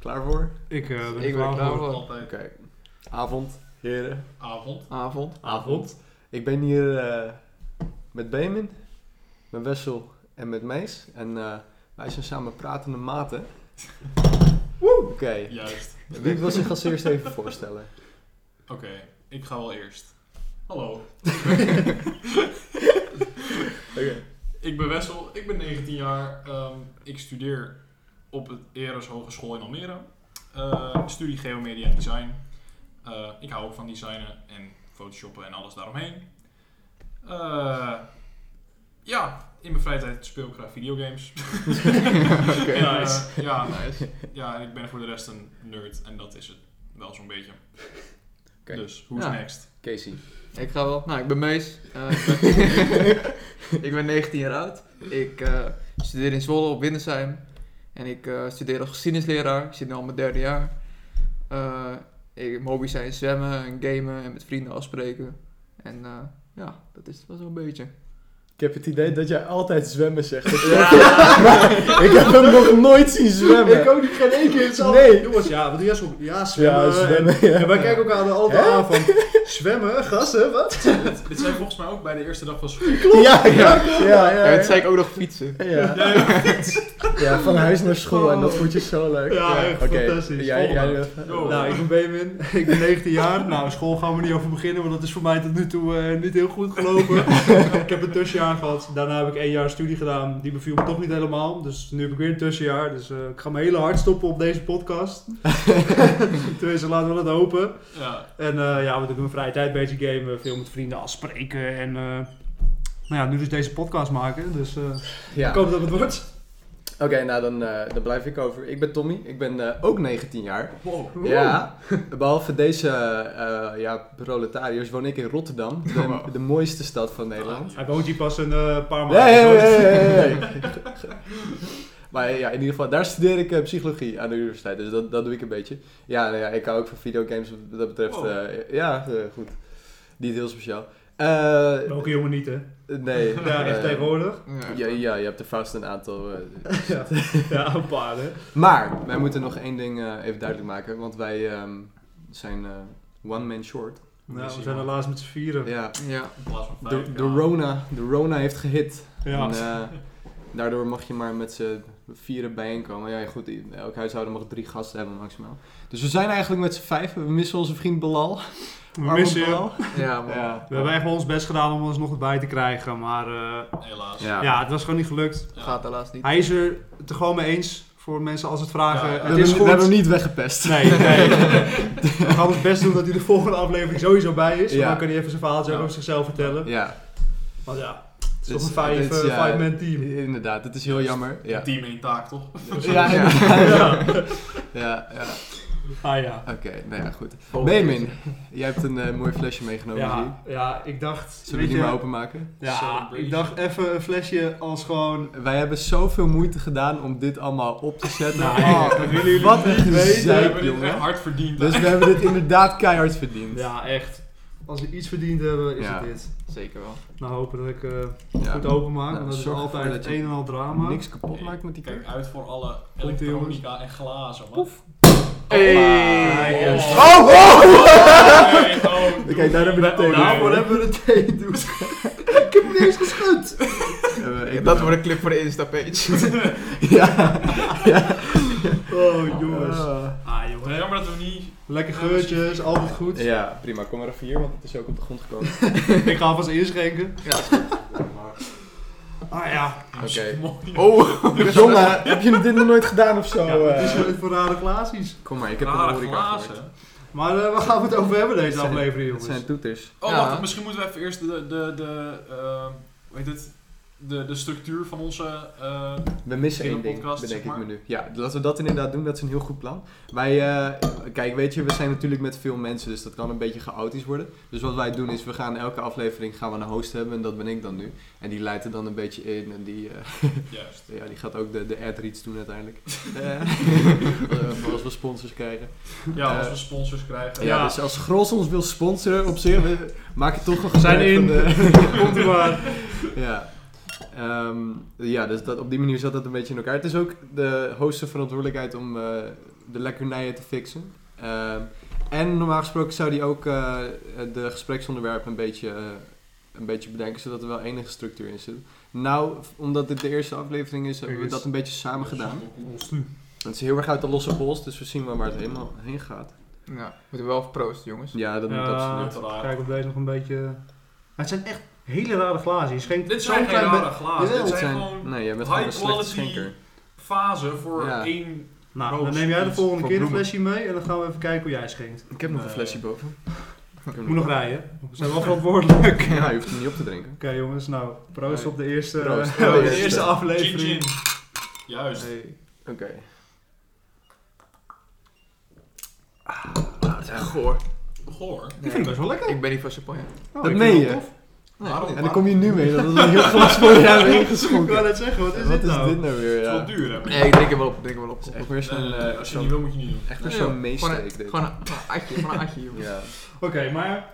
Klaar voor? Ik eh, ben Ik ben klaar voor. Oké. Altijd. Avond, heren. Avond. Avond. Avond. Ik ben hier eh, met Benjamin, met Wessel en met Mees. En eh, wij zijn samen pratende maten. Oké. Juist. Wie wil zich als eerste even voorstellen? Oké, ik ga wel eerst. Hallo. Ik ben Wessel, ik ben 19 jaar. Ehm, ik studeer op het Eres Hogeschool in Almere. Eh, studie Geomedia en Design. Eh, ik hou ook van designen en photoshoppen en alles daaromheen. Eh, ja, in mijn vrije tijd speel ik graag videogames. Oké, ja, nice. eh, ja, Nice. ja, en ik ben voor de rest een nerd en dat is het wel zo'n beetje. Oké. Dus, who's Ja. next? Casey. Ik ga wel. Nou, ik ben Mees. Eh, ik, ben ik ben 19 jaar oud. Ik eh, studeer in Zwolle op Windesheim. En ik eh, studeer als geschiedenisleraar. Ik zit nu al mijn derde jaar. Eh, ik, mijn hobby's zijn zwemmen en gamen en met vrienden afspreken. En eh, ja, dat is het wel zo'n beetje. Ik heb het idee dat jij altijd zwemmen zegt. Ja. Maar ik heb hem nog nooit zien zwemmen. Ik ook niet, geen één keer hetzelfde. Nee. Jongens, ja, wat doe jij zo? Ja, zwemmen. Ja, zwemmen, En, ja. en wij kijken elkaar er altijd aan van, zwemmen, gasten, wat? dit, dit zei volgens mij ook bij de eerste dag van school. Ja, ja, ja, En ja, dat zei ik ook nog fietsen. ja. Ja, van huis naar school en dat vond je zo leuk. Ja, echt Oké, fantastisch. Jij, jij, Yo. Nou, ik ben Benjamin, ik ben 19 jaar. Nou, school gaan we niet over beginnen, want dat is voor mij tot nu toe eh, niet heel goed gelopen. ik heb een tussenjaar gehad. Daarna heb ik één jaar studie gedaan. Die beviel me toch niet helemaal. Dus nu heb ik weer een tussenjaar. Dus eh, ik ga mijn hele hart stoppen op deze podcast. Tenminste, laten we dat hopen. Ja, En eh, ja, we doen mijn vrije tijd bezig gamen, veel met vrienden afspreken en eh, nou ja, nu dus deze podcast maken. Dus eh, Ja. ik hoop dat het wordt. Oké, nou dan, eh, dan blijf ik over. Ik ben Tommy, ik ben eh, ook 19 jaar. wow. Ja, behalve deze eh, ja, proletariërs woon ik in Rotterdam, de, de mooiste stad van Nederland. Hij woont hier pas een eh, paar maanden. Nee, nee, nee, nee, nee. Maar ja, in ieder geval, daar studeer ik eh, psychologie aan de universiteit, dus dat, dat doe ik een beetje. Ja, nou ja, ik hou ook van videogames wat dat betreft. Oh. eh, ja, eh, goed. Niet heel speciaal. Eh, Welke jongen niet, hè? nee. Ja, echt eh, tegenwoordig. Ja, ja, je hebt er vast een aantal. eh, Ja. ja, een paar, hè? Nou, Maar wij moeten nog één ding eh, even duidelijk maken, want wij ehm, zijn eh, one man short. Nou, we zijn helaas met z'n vieren. Ja, Ja. In plaats van vijf, de, de, ja. Rona, de Rona heeft gehit. Ja. En, eh, daardoor mag je maar met z'n vieren bijeenkomen. Ja, goed, i- elk huishouden mag drie gasten hebben maximaal. Dus we zijn eigenlijk met z'n vijf. We missen onze vriend Belal. We Armand missen je. Belal. Ja, man. Ja. We hebben echt wel ons best gedaan om ons nog bij te krijgen, maar eh, Helaas. Ja. ja, het was gewoon niet gelukt. Ja. Gaat helaas niet. Hij is er het er gewoon mee eens voor mensen als het vragen. Ja, ja. We, Het hebben, is hem- we goed. hebben hem niet weggepest. Nee, nee. We gaan ons best doen dat hij de volgende aflevering sowieso bij is. Ja. Dan kan hij even zijn verhaaltje Ja. over zichzelf vertellen. Ja, Want ja, het is Dus, toch een vijf, dit is, eh, ja, five-man team. inderdaad. Het is heel jammer. Ja, Team één taak, toch? ja, Ja. Ja. ja, ja. Ah ja. Oké, nou ja, goed. Benjamin, jij hebt een eh, mooi flesje meegenomen. zie ik. Ja, ja, ik dacht... Zullen we weet die je, maar openmaken? Ja, Celebration. ik dacht even een flesje als gewoon... Wij hebben zoveel moeite gedaan om dit allemaal op te zetten. Nou, Oh, dat willen jullie wat niet een weten. We gezeik, hebben dit jongen. echt hard verdiend. Dus we hebben dit inderdaad keihard verdiend. Ja, echt. Als we iets verdiend hebben, is Ja. het dit. Zeker wel. Nou, hopen dat ik eh, Ja. goed openmaak. Nou, want dat is zorg ervoor altijd dat het je een en al drama. Niks kapot maakt met die Kijk kurk. uit voor alle Komt-ie, elektronica en glazen, man. Hey! Hey. Oh. Oh, oh! Nee, oh, doe Oké, daar hebben we de Nou, niet. thee. Daarvoor hebben we de thee, dude. Ik heb niet eens geschud! ik dat wordt een clip voor de Insta-page. Ja. Oh, jongens. Ah, we- jongens. Jammer dat we niet... Lekker geurtjes, altijd goed. Ja, prima. Kom maar even hier, want het is ook op de grond gekomen. Ik ga alvast inschenken. Ja, Ah ja. Oké. Mooi. Oh! Jongen, heb je dit nog nooit gedaan of zo? ja wat is eh? dit voor rare glaasjes? Kom maar, ik heb een Rare horeca gehoord. glazen. Maar eh, waar gaan we het over hebben deze Het zijn- aflevering, Het jongens? zijn toeters. Oh, Ja. wacht. Misschien moeten we even eerst de... de, de eh, hoe heet het? De, de structuur van onze... eh, We missen Hele één ding, podcast, bedenk zeg ik me maar. nu. Ja, laten we dat inderdaad doen. Dat is een heel goed plan. Wij, eh, kijk, weet je, we zijn natuurlijk met veel mensen, dus dat kan een beetje chaotisch worden. Dus wat wij doen is, we gaan elke aflevering gaan we een host hebben en dat ben ik dan nu. En die leidt er dan een beetje in en die, eh, Juist. ja, die gaat ook de, de ad reads doen uiteindelijk. Eh, voor als we sponsors krijgen. Ja, als Eh, we sponsors krijgen. Ja, Ja. dus als Gros ons wil sponsoren op zich, we maken toch We een zijn gebruik in. van de- Komt u maar. Ja. Ehm, ja, dus dat, op die manier zat dat een beetje in elkaar. Het is ook de host zijn verantwoordelijkheid om eh, de lekkernijen te fixen. Ehm, en normaal gesproken zou die ook eh, de gespreksonderwerpen een beetje, eh, een beetje bedenken, zodat er wel enige structuur in zit. Nou, omdat dit de eerste aflevering is, hebben we dat een beetje samen gedaan. Het is heel erg uit de losse pols, dus we zien wel waar het helemaal heen gaat. Ja, moeten we wel even proosten, jongens. Ja, dat moet Ja. absoluut. Kijk of deze nog een beetje... Maar het zijn echt hele rare glazen. Je schenkt Dit zo'n zijn geen klein be- rare glazen. Jawel, Ah, Dit Het zijn zijn, gewoon nee, jij bent gewoon een high slechte quality schenker. fasen voor Ja. één... Nou, dan Roos, neem jij de iets volgende voor keer een bloemen. flesje mee en dan gaan we even kijken hoe jij schenkt. Ik heb nog een Nee. flesje boven. Ik Ik moet nog rijden. We zijn wel verantwoordelijk. Oké Ja, je hoeft hem niet op te drinken. jongens, nou, proost Hey. op de eerste, Proost. de Proost. eerste Gin, aflevering. gin. Juist. Hey. Oké. Ah, Goor. Goor. Ik vind het best wel lekker. Ik ben niet van champagne. Oh, Dat ik vind meen het je? wel tof. Waarom? En dan kom je nu mee, dat is een heel glas voor je hebben Ik wou ingeschonken. net zeggen, wat is Wat dit is nou? dit nou weer? Het is wel Ja. duur, hè? Nee, ik drink er wel op. Ik drink er wel op. Het is echt weer zo'n... Nee, eh, als je zo'n- niet wil, moet je niet doen. Echt weer Nee, zo'n joh. Gewoon meesteek een- dit. Gewoon een gewoon een atje, gewoon een atje, joh. Ja, Oké, maar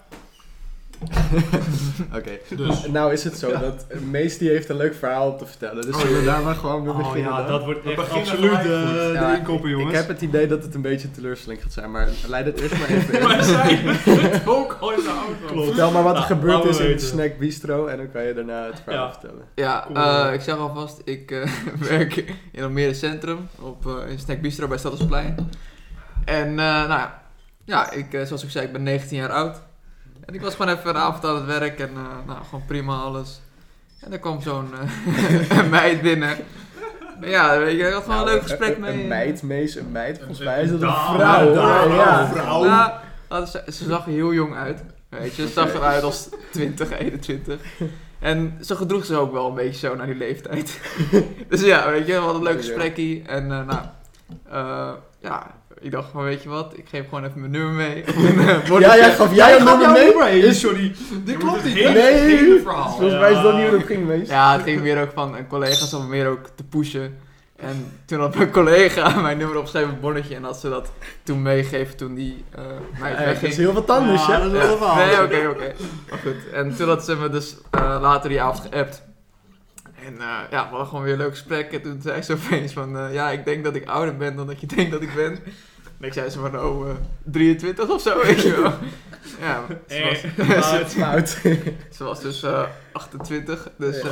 oké. Dus, Nou is het zo dat Mees die heeft een leuk verhaal te vertellen, dus Oh, zullen we jee. daar maar gewoon mee oh, beginnen ja, dan? dat wordt We echt beginnen absoluut eh, gelijk de, goed. Ja, inkoppen, Ik jongens. heb het idee dat het een beetje teleurstelling gaat zijn, maar leid het eerst maar even wij in. zijn het ook al in de auto. Klopt. Vertel maar wat er Nou, gebeurd laten we is in de weten. snack bistro en dan kan je daarna het verhaal vertellen. Ja, Cool. eh, ik zeg alvast, ik eh, werk in Almere Centrum op eh in Snack Bistro bij Stadhuisplein. En eh, nou ja, ja ik, eh, zoals ik zei, ik ben 19 jaar oud. En ik was gewoon even een avond aan het werk en eh, nou, gewoon prima alles. En er kwam zo'n eh, meid binnen. Ja, weet je, ik had gewoon Nou, een leuk gesprek een, mee. eh. Een meid, Mees, een meid. Volgens Een- mij is dat een een vrouw. dame, hoor. Ja. een vrouw. Nou, dat is- ze zag er heel jong uit. Weet je, ze zag Oké. eruit als 20, 21. En ze gedroeg zich ook wel een beetje zo naar die leeftijd. dus ja, weet je, we hadden een leuk Ja. gesprekje. En eh, nou, eh, ja, ik dacht van, weet je wat, ik geef gewoon even mijn nummer mee. Op een, eh, Ja, bordje. jij gaf jij een nummer mee? Is- sorry. Dit Je klopt moet niet. Het hele, Nee. hele verhaal. Volgens mij is dat niet hoe dat ging, Mees. Ja, het ging meer ook van een collega's om meer ook te pushen. En toen had mijn collega mijn nummer opgeschreven op het bonnetje. En had ze dat toen meegegeven toen die eh meid Hey, dat wegging. is heel wat anders, Ja, hè? dat is wel normaal. Nee, oké, oké. Maar goed, en toen had ze me dus eh, later die avond geappt. En eh, ja, we hadden gewoon weer een leuk gesprek. En toen zei ze opeens van, eh, ja, ik denk dat ik ouder ben dan dat je denkt dat ik ben. En ik zei ze van, oh, eh, 23 of zo, weet je wel. Ja, ze was, Eh, Dat is fout. ze was dus eh, 28, dus eh,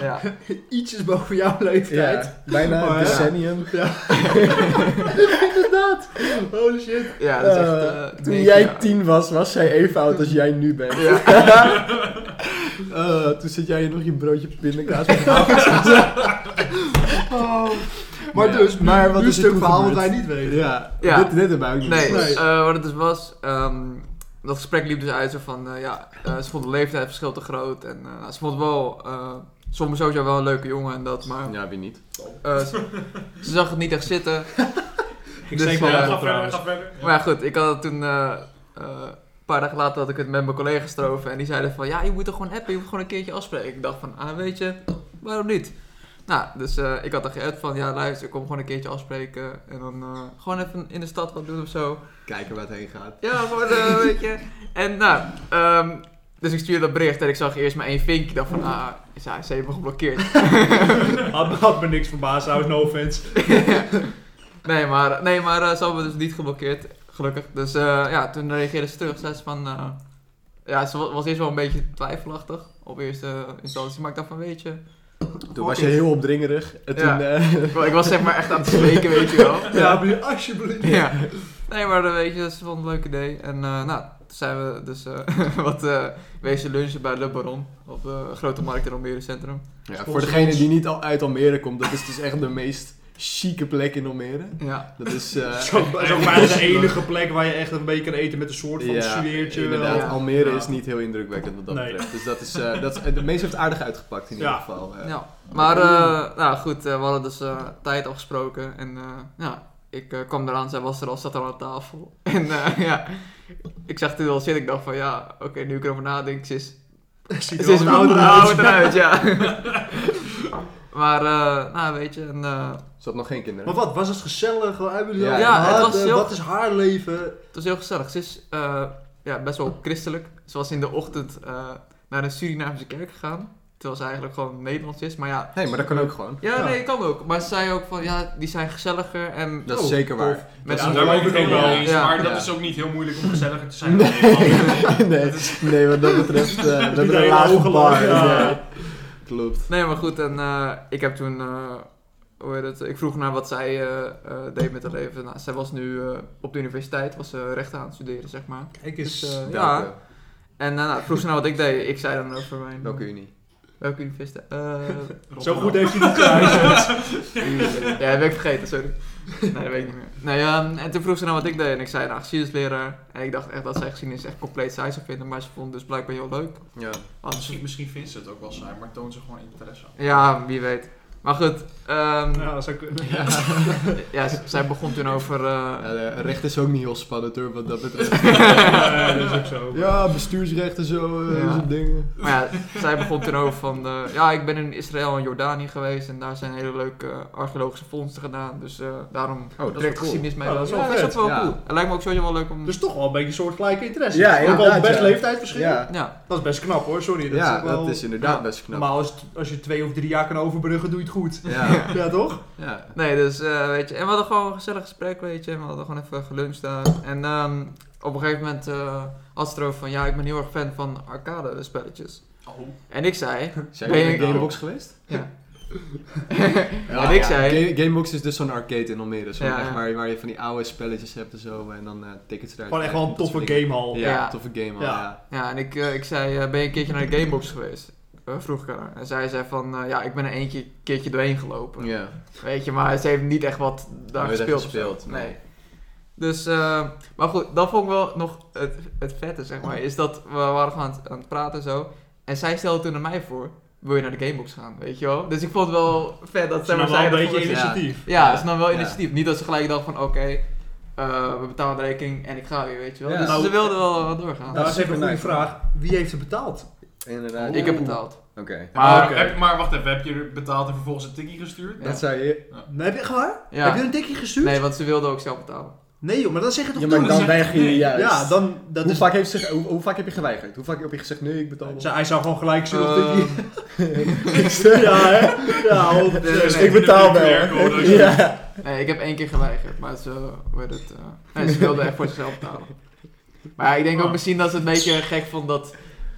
ja. Ietsjes boven jouw leeftijd. Ja, bijna Maar een ja. decennium. Inderdaad. Holy shit. Ja, dat is echt... Eh, eh, toen negen jij jaar. tien was, was zij even oud als jij nu bent. Ja. Eh, toen zit jij hier nog je broodje pindakaas met hapjes. Oh. Maar Ja. dus, nu- Maar wat nu is een er stuk verhaal wat gebeurd? wij niet weten. ja, Ja. Dit, dit hebben we ook niet. Nee, Nee. eh, wat het dus was, ehm, dat gesprek liep dus uit zo van, eh, ja, eh, ze vond het leeftijdsverschil te groot en eh, nou, ze vond wel, eh soms sowieso wel een leuke jongen en dat, maar Ja, wie niet? eh, ze, ze zag het niet echt zitten. Ik Dus, steek wel eh, uit ga verder, trouwens. ga verder. Maar ja, goed, ik had het toen, eh, eh, een paar dagen later had ik het met mijn collega's erover en die zeiden van, ja, je moet er gewoon appen, je moet gewoon een keertje afspreken. Ik dacht van, ah, weet je, waarom niet? Nou, dus eh, ik had er geappt van, ja, luister, kom gewoon een keertje afspreken en dan eh, gewoon even in de stad wat doen of zo. Kijken waar het heen gaat. Ja, gewoon eh, een beetje. En nou, ehm, dus ik stuurde dat bericht en ik zag eerst maar één vinkje. Ik dacht van, ah, is hij ze heeft me geblokkeerd. Had, had me niks verbaasd, trouwens, no offense. nee, maar, nee, maar eh, ze hadden me dus niet geblokkeerd, gelukkig. Dus eh, ja, toen reageerde ze terug. Zei ze van, eh, ja, ze wa- was eerst wel een beetje twijfelachtig op eerste instantie. Maar ik dacht van, weet je, Toen was je heel opdringerig. En toen, Ja. eh, ik, wa- ik was zeg maar echt aan het spreken, weet je wel. Ja, meneer, alsjeblieft. Ja. Nee, maar dan weet je, ze vond het een leuk idee. En eh, nou, toen zijn we dus eh, wat eh wezen lunchen bij Le Baron. Op de grote markt in Almere Centrum. ja, voor degene die niet al uit Almere komt, dat is dus echt de meest chique plek in Almere. Ja. Dat is... eh, Zo, zo maar de enige plek waar je echt een beetje kan eten met een soort van studeertje. inderdaad. Ja. Almere Ja. is niet heel indrukwekkend wat dat Nee. betreft. Dus dat is, eh, dat is, eh, de meeste heeft het aardig uitgepakt in ieder Ja. geval. eh. ja. Maar eh, nou goed, eh, we hadden dus eh, tijd afgesproken. En eh, ja, ik eh, kwam eraan, zij was er al, zat er al aan tafel. En eh, ja, ik zag toen al zitten. Ik dacht van ja, oké, nu ik erover nadenk, ze is Ziet Het er is wel een ouder ouder uit. uit. ja. maar, eh, nou weet je, en, eh, Ze had nog geen kinderen. Maar wat, was het gezellig? Wat hebben jullie Ja, allemaal het gehad? was Eh, heel- Wat is haar leven? het was heel gezellig. Ze is eh, ja, best wel christelijk. Ze was in de ochtend eh, naar een Surinaamse kerk gegaan. Terwijl ze eigenlijk gewoon Nederlands is. Maar ja, Nee, maar dat kan ook gewoon. ja, Ja. nee, kan ook. Maar ze zei ook van, ja, die zijn gezelliger en... Dat is Oh, zeker waar. tof. Met ja, z'n daar ben ik het ook allen. wel eens. Ja. Maar Ja. dat is ook niet heel moeilijk om gezelliger te zijn dan Nederland. nee, nee, wat dat betreft, eh we hebben Iedereen een lage hoge bar. lat, ja. Ja. Klopt. Nee, maar goed, en eh, ik heb toen, eh, hoe heet het, ik vroeg naar wat zij eh, eh, deed met haar leven. Nou, zij was nu eh, op de universiteit, was ze rechten aan het studeren, zeg maar. Kijk eens. Dus, eh, Ja. ja. En eh, nou, vroeg ze nou wat ik deed. Ik zei dan over mijn... eh, Welke unie? Welke universiteit? Eh, zo Rotterdam. goed heeft hij het thuis. ja, dat ben ik vergeten, sorry. Nee, dat weet ik niet meer. Nee, ehm, en toen vroeg ze nou wat ik deed en ik zei nou geschiedenisleraar. En ik dacht echt dat zij geschiedenis echt compleet saai zou vinden, maar ze vond het dus blijkbaar heel leuk. Ja. Had ze- Misschien, misschien vindt ze het ook wel saai, maar toont ze gewoon interesse. Ja, wie weet. Maar goed, ehm, Ja, nou, zou ik- ja. z- zij begon toen over... eh, Ja, de recht is ook niet heel spannend hoor, wat dat betreft. Ja, dat is ook zo. ja, bestuursrechten zo, eh Ja. dat soort dingen. Maar ja, zij begon toen over van... eh, ja, ik ben in Israël en Jordanië geweest en daar zijn hele leuke eh, archeologische vondsten gedaan. Dus eh, daarom wel trekt cool. geschiedenis mee. Oh, dat is wel ja, dat is ook vet, wel ja. cool. Het lijkt me ook sowieso wel leuk om... Dus toch wel een beetje een soortgelijke interesse. Ja, ook al inderdaad, best ja. leeftijdverschil. Ja, ja, Dat is best knap hoor, sorry. Dat ja is ook wel... dat is inderdaad Ja. best knap. Normaal als, het- als je twee of drie jaar kan overbruggen, doe je het goed. Ja, Ja, toch? ja. nee, dus eh, weet je... En we hadden gewoon een gezellig gesprek, weet je. En we hadden gewoon even geluncht daar. En ehm, op een gegeven moment eh had ze erover van... Ja, ik ben heel erg fan van arcade spelletjes. Oh, En ik zei... Zijn jullie Ben in je- Gamebox geweest? Ja. Ja, en ik ja. zei... Ga- Gamebox is dus zo'n arcade in Almere, zo, Ja, echt ja. waar, waar je van die oude spelletjes hebt en zo, en dan eh tickets eruit. Gewoon echt wel een krijgt, dat toffe soort dingen. gamehal. Ja, Ja. toffe game al, Ja. ja. Ja, en ik, eh, ik zei, eh, ben je een keertje naar de Gamebox geweest? Eh, vroeg ik haar. En zij zei van, eh, ja, ik ben er eentje keertje doorheen gelopen. Ja. Weet je, maar ze heeft niet echt wat daar Nooit echt gespeeld. of zo. gespeeld, nee. Dus, eh, maar goed, dat vond ik wel nog het, het vette, zeg maar. Is dat we waren gewoon aan het, aan het praten en zo. En zij stelde toen aan mij voor, wil je naar de Gamebox gaan, weet je wel? Dus ik vond het wel vet dat Dat is zij maar nog wel zei een dat beetje voor- initiatief. initiatief. Ja, Ja. ze nam wel Ja. initiatief. Niet dat ze gelijk dacht van, oké, eh, we betalen de rekening en ik ga weer, weet je wel. Ja. Dus Nou, ze wilde wel wat doorgaan. Nou, dat is even een goede Nice. vraag. Wie heeft het betaald? Inderdaad. Ik heb betaald. Oké. Maar- Maar, Oké. heb- maar wacht even, heb je er betaald en vervolgens een tikkie gestuurd? Dat zei je... Nee, heb je gewoon? Ja. Heb je een tikje gestuurd? Nee, want ze wilde ook zelf betalen. Nee, joh, maar dat zeg je toch Ja, maar nooit? dan weig je Nee. juist. Ja, dan... Dat Hoe, is... vaak heeft ze, hoe, hoe vaak heb je geweigerd? Hoe vaak heb je gezegd, nee, ik betaal wel. Ze- Hij zou gewoon gelijk zullen Eh, tikkie. ja, hè? Ja, honderd Nee, Dus procent. nee, nee. ik betaal wel. Ja. Ja. nee, ik heb één keer geweigerd, maar ze, hoe heet het, eh, nee, ze wilde echt voor zichzelf betalen. Maar ja, ik denk ook misschien dat ze het een beetje gek vond dat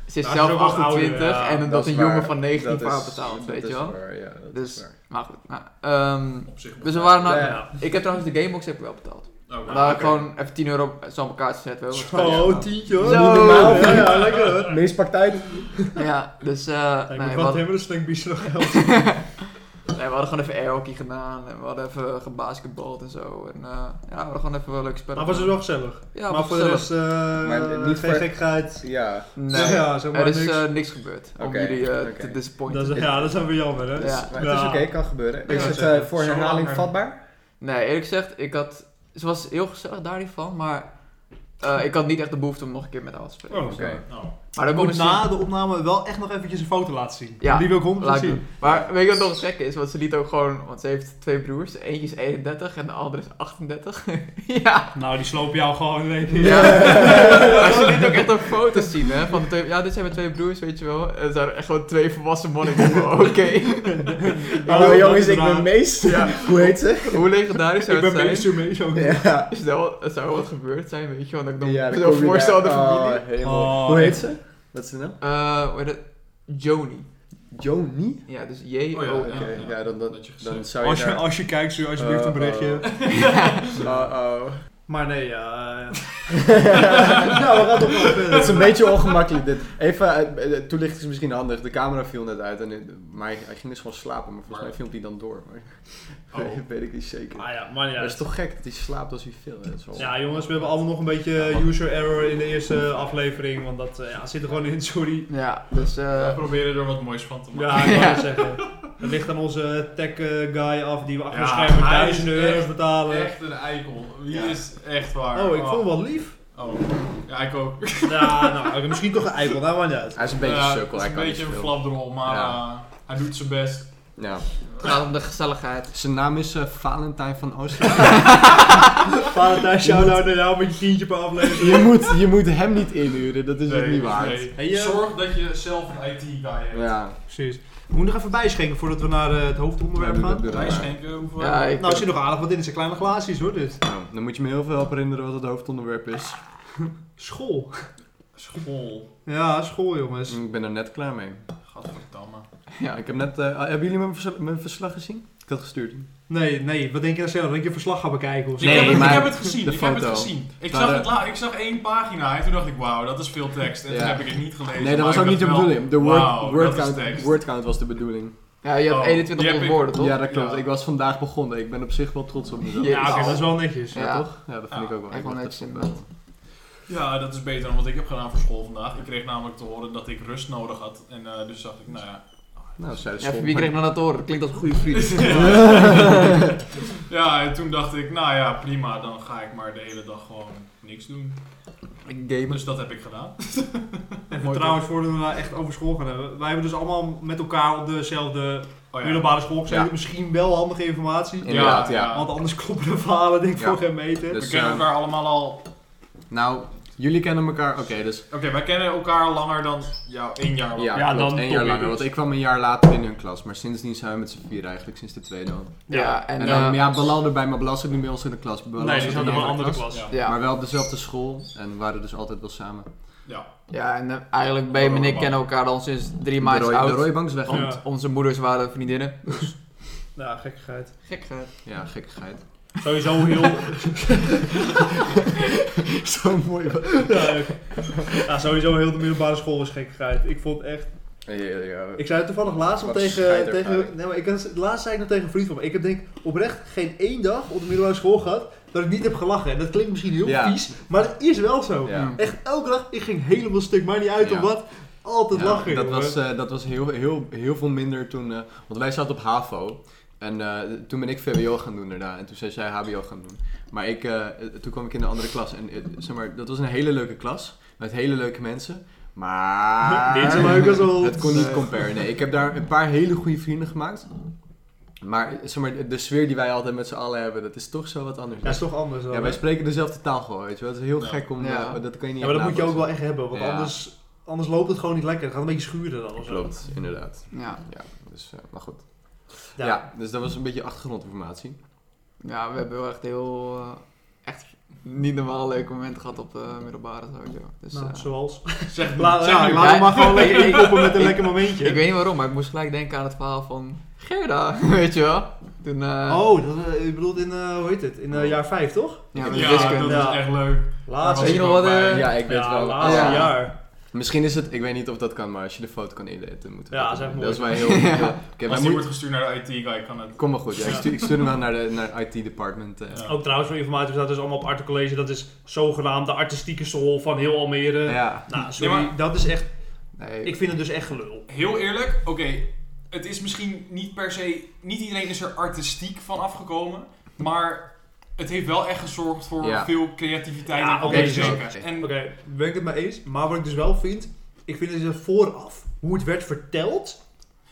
ze is Oh. Ja, zelf ze is ook wel 28 ouder, ja. en dat, Dat is een jongen waar. van 19 Dat voor haar is- betaalt, dat weet is je wel. waar, ja, dat Dus- is waar. Maar goed, nou, ehm, Op zich nog dus we waren wel. nou, Ja, ja. ik heb trouwens de Gamebox heb ik wel betaald. Oh, Daar nou, had ik oké. gewoon even 10 euro zo op elkaar gezet. wel. Ah, Zo, tientje hoor. Zo. Niet normaal. Ja, ja, lekker hoor. Meest praktijk. Ja, dus eh Ik nee, moet we wat hadden, hebben, een slingbies nog geld. nee, we hadden gewoon even airhockey gedaan en we hadden even gebasketbald en zo. En eh, ja, we hadden gewoon even wel leuke spellen. Maar was het wel gezellig. Ja, maar was voor de gezellig. rest, eh, Maar niet geen voor- gekheid. Ja. Nee. Ja, ja, zeg maar er is niks. eh, niks gebeurd om Oké, jullie eh, oké. te disappointen. dat is, ja, dat is wel weer jammer, hè? Ja. Dus- maar het is Ja. oké, kan gebeuren. Ja, Is het zeker. eh, voor Zo herhaling lang. vatbaar? Nee, eerlijk gezegd, ik had... Ze was heel gezellig daar niet van, maar... eh, ik had niet echt de behoefte om nog een keer met haar af te spreken. Oh, Oké. zo. Nou, Maar dat Ik komt moet misschien... na de opname wel echt nog eventjes een foto laten zien. Ja, Die wil ik Laat 100% ik zien. doen. Maar weet je wat nog het gekke is? Want ze liet ook gewoon... Want ze heeft twee broers. Eentje is 31 en de andere is 38. ja. Nou, die slopen jou gewoon in één keer. ja. maar ze liet ook echt ook foto's zien, hè. Van de twee, ja, dit zijn mijn twee broers, weet je wel. En ze waren echt gewoon twee volwassen mannen. Ik dacht van, Oké. Hallo dat jongens, is ik ben raar. Mees. Hoe heet ze? Hoe legendarisch zou Ik ben het zijn? meester mee zo. Ja. Stel, er zou wat gebeurd zijn, weet je wel. Dat ik dan Ja, dan zo kom je voorstel aan de daar. Oh, familie. hemel. Oh. Hoe heet ze? Wat is ze nou? Eh, hoe heet het? Joni. Joni? Ja, dus J-O. Oh ja, Oké, ja, ja, ja. dan, dan, Dat je gezegd. dan zou je Als je, daar... Oh, als je kijkt, stuur alsjeblieft een Eh, berichtje. Uh-oh. Maar nee, ja. eh, nou, we gaan toch wel Het is verder. een beetje ongemakkelijk dit. Even, eh, eh, toelichting is misschien handig. De camera viel net uit, en, eh, maar hij, hij ging dus gewoon slapen. Maar volgens Maar- mij filmt hij dan door. Maar, Oh. dat weet ik niet zeker. Ah ja, maar Maar ja. het is toch gek dat hij slaapt als hij filmt. hè? Dat is wel- Ja, jongens, we hebben allemaal nog een beetje user error in de eerste aflevering. Want dat eh, ja, zit er gewoon in, sorry. Ja, dus... we eh proberen er wat moois van te maken. Ja, ik wou Ja. het zeggen. Dat ligt aan onze tech eh, guy af die we achter de Ja, schermen hij is duizenden echt- euro's betalen. Echt een eikel. Wie is echt waar? Oh, ik vond hem wel lief. Oh. Ja, ik ook. Ja, nou, oké, misschien toch een eikel, nou maakt niet uit. Hij is een beetje Ja, sukkel, Eh, het hij is kan een niet beetje een veel. flapdrol, maar Ja. eh, hij doet zijn best. Ja. het gaat om de gezelligheid. Zijn naam is eh, Valentijn van Oostenrijk. Valentijn, shout-out naar jou nou met je tientje per aflevering. Je moet, je moet hem niet inhuren, dat is het Nee, niet waard. nee. Hey, eh, Zorg dat je zelf een IT-guy hebt. Ja, Precies. We moeten nog even bijschenken voordat we naar eh, het hoofdonderwerp Ja, doe dat, gaan. doe dat. Wij schenken hoeveel... Ja, ik, Nou, er zit nog aardig wat in. Het zijn kleine glaasjes hoor, dit. nou, dan moet je me heel veel helpen herinneren wat het hoofdonderwerp is. School. School. Ja, school jongens. Ik ben er net klaar mee. Gadverdamme. ja, Ik heb net, eh, hebben jullie mijn, vers- mijn verslag gezien? Ik had gestuurd. Nee, nee. Wat denk je nou zelf? Denk je een verslag gaan bekijken of zo? Nee, ik, heb het, maar ik heb het gezien. de Ik heb foto. het gezien. Ik Maar zag, de- het la- ik zag één pagina en toen dacht ik, wauw, dat is veel tekst. En Ja. toen heb ik het niet gelezen. Nee, dat maar was ik ook niet de dacht wel, bedoeling. De word, wauw, word, dat is count, tekst. word count was de bedoeling. ja, je Oh, hebt die 2100 heb ik- woorden, toch? Ja, dat klopt. Ja. Ik was vandaag begonnen. Ik ben op zich wel trots op mezelf. Ja. Ja, oké, dat is wel netjes. Ja, Ja. toch? Ja, dat vind Ja. ik ook wel. Echt wel Ik netjes dacht, inderdaad. Ja, dat is beter dan wat ik heb gedaan voor school vandaag. Ik kreeg namelijk te horen dat ik rust nodig had. En eh, dus dacht ik, nou ja. Nou, zei de Ja, school. wie kreeg nou dat te horen? Klinkt als een goede vriend. ja, en toen dacht ik, nou ja, prima. Dan ga ik maar de hele dag gewoon niks doen. Gamer. Dus dat heb ik gedaan. En Mooi, trouwens, voordat we nou echt over school gaan hebben. Wij hebben dus allemaal met elkaar op dezelfde Oh ja. middelbare school gezeten. Ja. Misschien wel handige informatie. Inderdaad, ja. Want anders kloppen de verhalen denk ik Ja. voor geen meter. Dus, we kennen ehm, elkaar allemaal al. Oké, nou, jullie kennen elkaar. Oké, dus wij kennen elkaar langer dan. Ja, één jaar lang. ja, Ja, klopt. dan één toch jaar weer langer. dus. Want ik kwam een jaar later in hun klas. Maar sindsdien zijn we met z'n vier eigenlijk, sinds de tweede al. Ja, en, En eh, dan, ja, Belal bij, maar Belal zit niet bij ons in de klas. Belal Nee, zit die in zaten een wel een andere andere klas. Ja. ja. Maar wel op dezelfde school en we waren dus altijd wel samen. Ja. Ja, en eh, eigenlijk Ben en ik kennen elkaar al sinds drie de, maanden Roy, de oud. Roybank is weg. Ja. Ja, Want onze moeders waren vriendinnen. Nou, gekkigheid. Gek, hè? gekkigheid. Sowieso heel... Zo mooi. ja, leuk. ja, sowieso heel de middelbare school was gekkigheid. Ik vond echt... Ik zei het toevallig laatst nog Wat een tegen, scheidervaring. tegen... Nee, maar ik had, laatst zei ik nog tegen een vriend van me. Ik heb denk oprecht geen één dag op de middelbare school gehad dat ik niet heb gelachen. En dat klinkt misschien heel Ja. vies, maar het is wel zo. Ja. Echt elke dag, ik ging helemaal stuk, maar niet uit Ja. om wat. Altijd Ja, lachen. dat jongen. was, eh, dat was heel, heel, heel veel minder toen. eh, want wij zaten op HAVO. En eh, toen ben ik VWO gaan doen daarna. En toen zijn zij HBO gaan doen. Maar ik, eh, eh, toen kwam ik in de andere klas. En eh, zeg maar, dat was een hele leuke klas. Met hele leuke mensen. Maar... Niet zo leuk als ons. Het kon niet comparen. Nee, ik heb daar een paar hele goede vrienden gemaakt. Maar, eh, zeg maar de- de sfeer die wij altijd met z'n allen hebben, dat is toch zo wat anders. Ja, is toch anders dan. Ja, wij spreken dezelfde taal gewoon, weet je wel. Dat is heel Ja. gek om... Ja. eh, dat kan je niet Ja, maar dat echt moet je nabootsen. ook wel echt hebben, want Ja. anders, anders loopt het gewoon niet lekker. Het gaat een beetje schuren dan. of zo. Nou, Klopt, inderdaad. Ja. Ja, dus, eh, maar goed. Ja. Ja. dus dat was een beetje achtergrondinformatie. ja, we hebben wel echt heel... eh, echt niet normaal leuke momenten gehad op de middelbare sowieso. Dus, Nou, eh, zoals. Zeg, La, zeg ja, nu. laten we maar gewoon lekker Ik- inkoppen met een ik- lekker momentje. ik weet niet waarom, maar ik moest gelijk denken aan het verhaal van Gerda, weet je wel. Toen, eh, Oh, dat, eh, je bedoelt in, eh, hoe heet het? In eh, jaar 5, toch? ja, met Ja, wiskunde. dat Ja. is echt leuk. Laatste. Weet je nog wat, eh, Ja, ik weet ja, wel. laatste Ja. jaar. Misschien is het, ik weet niet of dat kan, maar als je de foto kan editen, moeten we Ja, dat dat is doen. echt Dat is wel mooi. heel... ja. Oké, wij Als die moeten- wordt gestuurd naar de IT-guy, kan het. Kom maar goed, ja, ik, Ja. stuur, ik stuur hem wel naar de naar IT department. eh. Ja. Ook trouwens voor informatie, we zaten dus allemaal op Arte College. Dat is zogenaamd de artistieke school van heel Almere. Ja, Nou, sorry, Nee, maar- dat is echt... nee. Ik vind het dus echt gelul. Heel eerlijk, oké. het is misschien niet per se. Niet iedereen is er artistiek van afgekomen. Maar het heeft wel echt gezorgd voor Ja. veel creativiteit Ja, en oké, anders zo. denken. En Oké, ben ik het mee eens. Maar wat ik dus wel vind, ik vind het dus vooraf, hoe het werd verteld,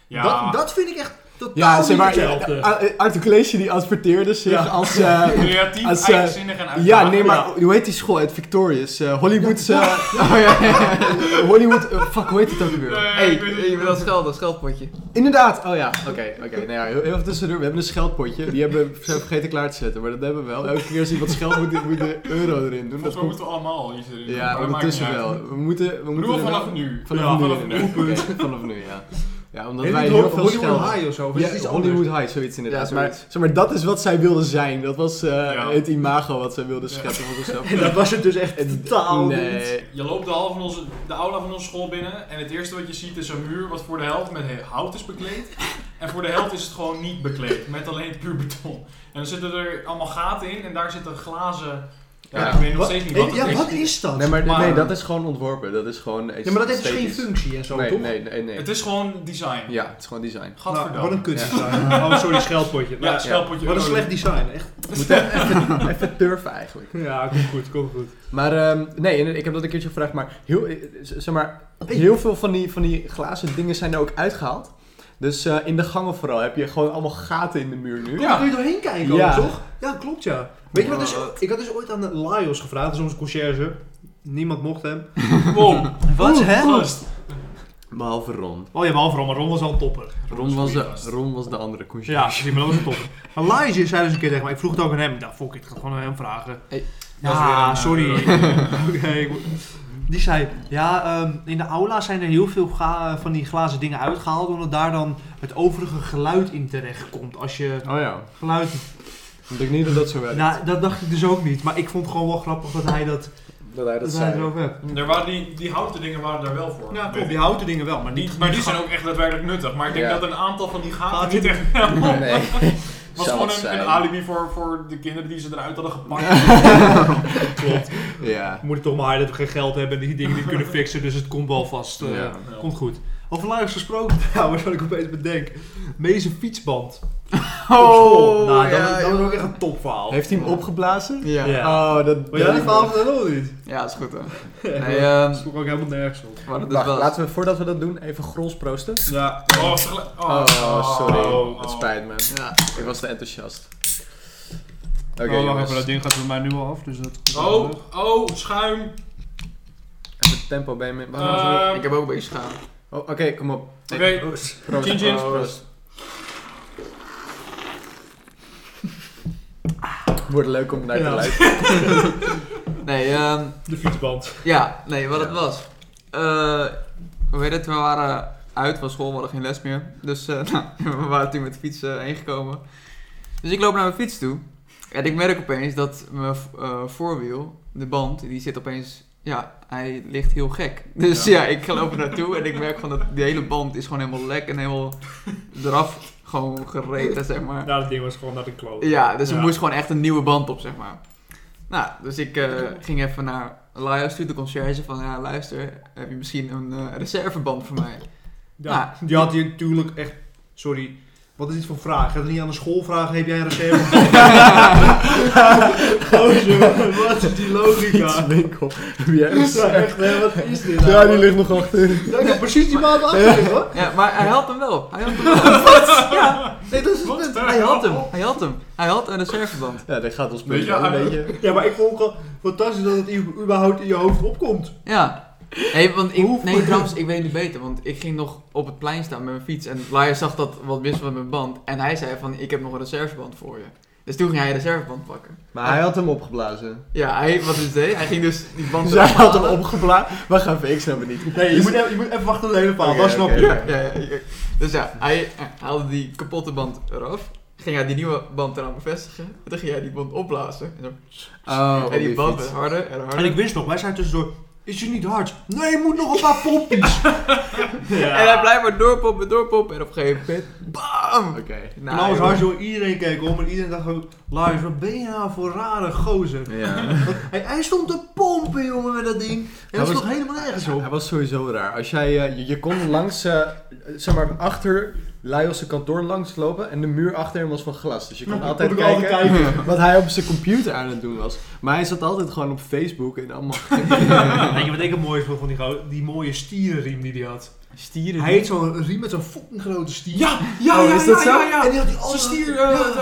ja, dat, dat vind ik echt totaal Ja, zeg maar, niet hetzelfde. A- eh, Art College die adverteerde zich Ja. als... eh, creatief, Als, eh, eigenzinnig en uitdagend. ja, nee, maar hoe heet die school uit Victorious? eh Hollywood's... eh, oh, ja, ja. Hollywood... eh, fuck, hoe heet het ook weer? Nee, Hey, ik weet het je niet. wil dat schelden, scheldpotje. Inderdaad, oh ja, oké, oké. Nou ja, heel heel even tussendoor, we hebben een scheldpotje. Die hebben we zijn vergeten klaar te zetten, maar dat hebben we wel. Elke keer als iemand scheld moet, moet de euro erin doen. Dat Volgens mij komt, moeten we allemaal iets erin doen, maar ja, dat maakt ondertussen niet uit. wel. We moeten, we We moeten doen er we wel- vanaf nu. Vanaf Ja, nu, vanaf inderdaad. nu. Oké, vanaf nu, ja. Ja, omdat Heet wij het heel Ho- veel Hollywood schelden. High of zo, of is Ja, het iets Hollywood anders? High, zoiets inderdaad. Ja, maar, zoiets. zeg maar, dat is wat zij wilden zijn. Dat was eh, Ja. het imago wat zij wilden Ja. scheppen voor zichzelf. En dat was het dus echt Het- totaal niet. nee. Je loopt de, hal van onze, de aula van onze school binnen en het eerste wat je ziet is een muur wat voor de helft met he- hout is bekleed. En voor de helft is het gewoon niet bekleed, met alleen puur beton. En dan zitten er allemaal gaten in en daar zitten glazen... Ja, Ja. ik weet nog Wat- steeds niet Hey, wat het ja, is. wat is dat? Nee, maar, Maar- nee, dat is gewoon ontworpen. Dat is gewoon Ja, maar dat heeft dus geen esthetisch. functie en zo, Nee, toch? nee, nee, nee. Het is gewoon design. Ja, het is gewoon design. Nou, Gadverdamme. wat een kutdesign. Oh, sorry, scheldpotje. Ja, Nou, schelpotje. Wat een euro. slecht design, echt. Moet even, even turven eigenlijk. Ja, komt goed, komt goed. Maar ehm, nee, en ik heb dat een keertje gevraagd, maar heel, eh, z- zeg maar, heel veel van die, van die glazen dingen zijn er ook uitgehaald. Dus eh, in de gangen vooral heb je gewoon allemaal gaten in de muur nu. Ja. kun je doorheen kijken, Ja. ook, toch? Ja, klopt ja. Weet je wat, dus, ik had dus ooit aan de Laios gevraagd, dat is onze conciërge. Niemand mocht hem. Wow. Wat, hè? Gast. Behalve Ron. Oh ja, behalve Ron, maar Ron was al een topper. Dus Ron was de, gast. Ron was de andere koers. Ja, precies, maar dat was een topper. Maar Laios zei dus een keer tegen mij, ik vroeg het ook aan hem. Ik dacht, fuck it, ik ga het gewoon aan hem vragen. Hey. Ja, Dat is weer een, eh, sorry. rode. Oké, ik moet- die zei, ja, ehm, in de aula zijn er heel veel ga- van die glazen dingen uitgehaald, omdat daar dan het overige geluid in terecht komt. Als je Oh ja. geluid Ik denk niet dat dat zo werkt. Nou, dat dacht ik dus ook niet. Maar ik vond het gewoon wel grappig dat hij dat, dat hij dat, dat hij zei. erover hebt. Er waren die, die houten dingen waren daar wel voor. Ja, Weet klopt. ik. Die houten dingen wel, maar Maar niet... die, maar die zijn ook echt daadwerkelijk nuttig. Maar ik denk Ja. dat een aantal van die gaten Gaat niet niet. echt helpen. Nee. was Zou gewoon het een, een zijn. alibi voor, voor de kinderen die ze eruit hadden gepakt. Klopt. Ja. Moet het toch maar dat we geen geld hebben en die dingen niet kunnen fixen. Dus het komt wel vast. eh, Ja. Komt goed. Over luiers gesproken, trouwens, wat ik opeens bedenk. Mees een fietsband. op school. Oh, Nou, dat, ja, dat is ook joh. echt een topverhaal. Ah, Heeft hij hem opgeblazen? Ja. Ja. Oh, dat... Maar jij die verhaal van ook niet? ja, is goed hè. Nee, Nee, ehm, Dat sloeg ook helemaal nergens op. we hadden dus Wacht, wel eens- laten we voordat we dat doen even grols proosten. Ja. Oh, tegelijk- oh, Oh, sorry. oh, Het oh. spijt me. Ja. Ik was te enthousiast. Oké, oh, wacht jongens. even, dat ding gaat bij mij nu al af, dus dat... Oh, oh, schuim. Even het tempo bij me. Waarom is het- Ehm, Ik heb ook een beetje schaam. Oh, Oké, kom op. Oké, Proost. Chin chin. Proost. Wordt leuk om naar te Ja. luisteren. Nee, ehm, De fietsband. ja, nee, wat het was. Eh, hoe heet het? We waren uit van school, we hadden geen les meer. Dus eh, nou, we waren toen met de fiets eh, heen gekomen. Dus ik loop naar mijn fiets toe. En ik merk opeens dat mijn eh, voorwiel, de band, die zit opeens... Ja, hij ligt heel gek. Dus ja, ik ga lopen naartoe en ik merk gewoon dat die hele band is gewoon helemaal lek en helemaal eraf gewoon gereten, zeg maar. Nou, dat ding was gewoon naar de kloot. Ja, dus er Ja. moest gewoon echt een nieuwe band op, zeg maar. Nou, dus ik eh, ging even naar Laios toe, de conciërge, van ja, luister, heb je misschien een eh, reserveband voor mij? Ja, die had hij natuurlijk echt. Sorry, wat is dit voor vraag? Gaat het niet aan de school vragen? Heb jij een reserve? oh, joh, wat is die logica? Winkel. Heb jij Is eens- dat echt, hè? Wat is dit? nou? Ja, die ligt nog achter. Ja, ik heb precies die maat achter, hoor. Ja, maar hij had hem wel. Hij had hem wel. Wat? Ja, nee, dat is het Wat punt. de Hij had hem. hel? Hij had hem. Hij had een reserveband. Ja, dat gaat ons Weet je, puntje wel een hij- beetje. Ja, maar ik vond het gewoon fantastisch dat het überhaupt in je hoofd opkomt. Ja. Hey, want ik, Hoe- nee, trouwens, ik weet niet beter, want ik ging nog op het plein staan met mijn fiets en Laios zag dat wat mis was met mijn band en hij zei van, ik heb nog een reserveband voor je. Dus toen ging hij een reserveband pakken. Maar hij had hem opgeblazen. Ja, hij, wat is dit? Hij ging dus die band Zij eraf had hem halen. opgeblazen. We gaan even, ik snap het niet. Nee, je moet, even- je moet even wachten op de hele verhaal, Oké, dat snap oké. je. Ja, ja, ja. Dus ja, hij eh, haalde die kapotte band eraf. Ging hij die nieuwe band eraan bevestigen. En toen ging hij die band opblazen. En, zo. Oh, en die band werd harder en harder. En En, ik wist nog, wij zijn tussendoor. Is het niet hard? Nee, je moet nog een paar poppies. Ja. hij blijft maar doorpoppen, doorpoppen. En op een gegeven moment, bam! Oké. Nou, Nou, als jongen. hard joh, iedereen keek om en iedereen dacht ook, Lars, wat ben je nou voor rare gozer? Ja. Hij, hij stond te pompen, jongen, met dat ding. En Hij dat was- stond helemaal nergens op. Hij was sowieso raar. Als jij, eh, je, je kon langs, eh, zeg maar, achter Laios' kantoor langslopen en de muur achter hem was van glas. Dus je kon Kon altijd ik kijken altijd kijken. wat hij op zijn computer aan het doen was. Maar hij zat altijd gewoon op Facebook en allemaal Weet je wat ik het mooie vond van die gozer? Die mooie stierenriem die hij had. stieren. Hij heeft zo'n riem met zo'n fucking grote stier. Ja, ja, Oh, ja, is ja, dat zo? ja, ja. En die had die Ze altijd... stier, eh, de,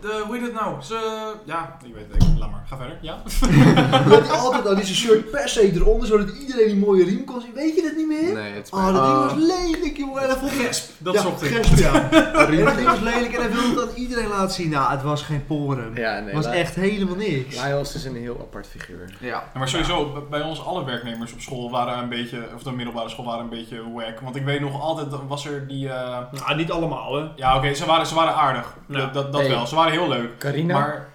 de- hoe heet het nou? Ze, ja, ik weet het niet. Laat maar, ga verder. Ja? Die had die altijd al die zijn shirt per se eronder, zodat iedereen die mooie riem kon zien. Weet je dat niet meer? Nee, Ah. het Oh, dat Oh. ding was lelijk, jongen. En dat vond ik... Gesp, dat ja, zocht ik. gesp, ja. En dat ding was lelijk en hij wilde het aan iedereen laten zien. Nou, het was geen poren. Het Ja, nee. was Lai- echt helemaal niks. Laios is een heel apart figuur. Ja. Ja, maar sowieso, b- bij ons alle werknemers op school waren een beetje, of de middelbare school waren een beetje wack. Want ik weet nog altijd, dan was er die, eh, Nou, niet allemaal, hè. ja oké, ze, waren, ze waren aardig. Ja. Dat, dat, dat Hey. wel, ze waren heel leuk. Carina, Maar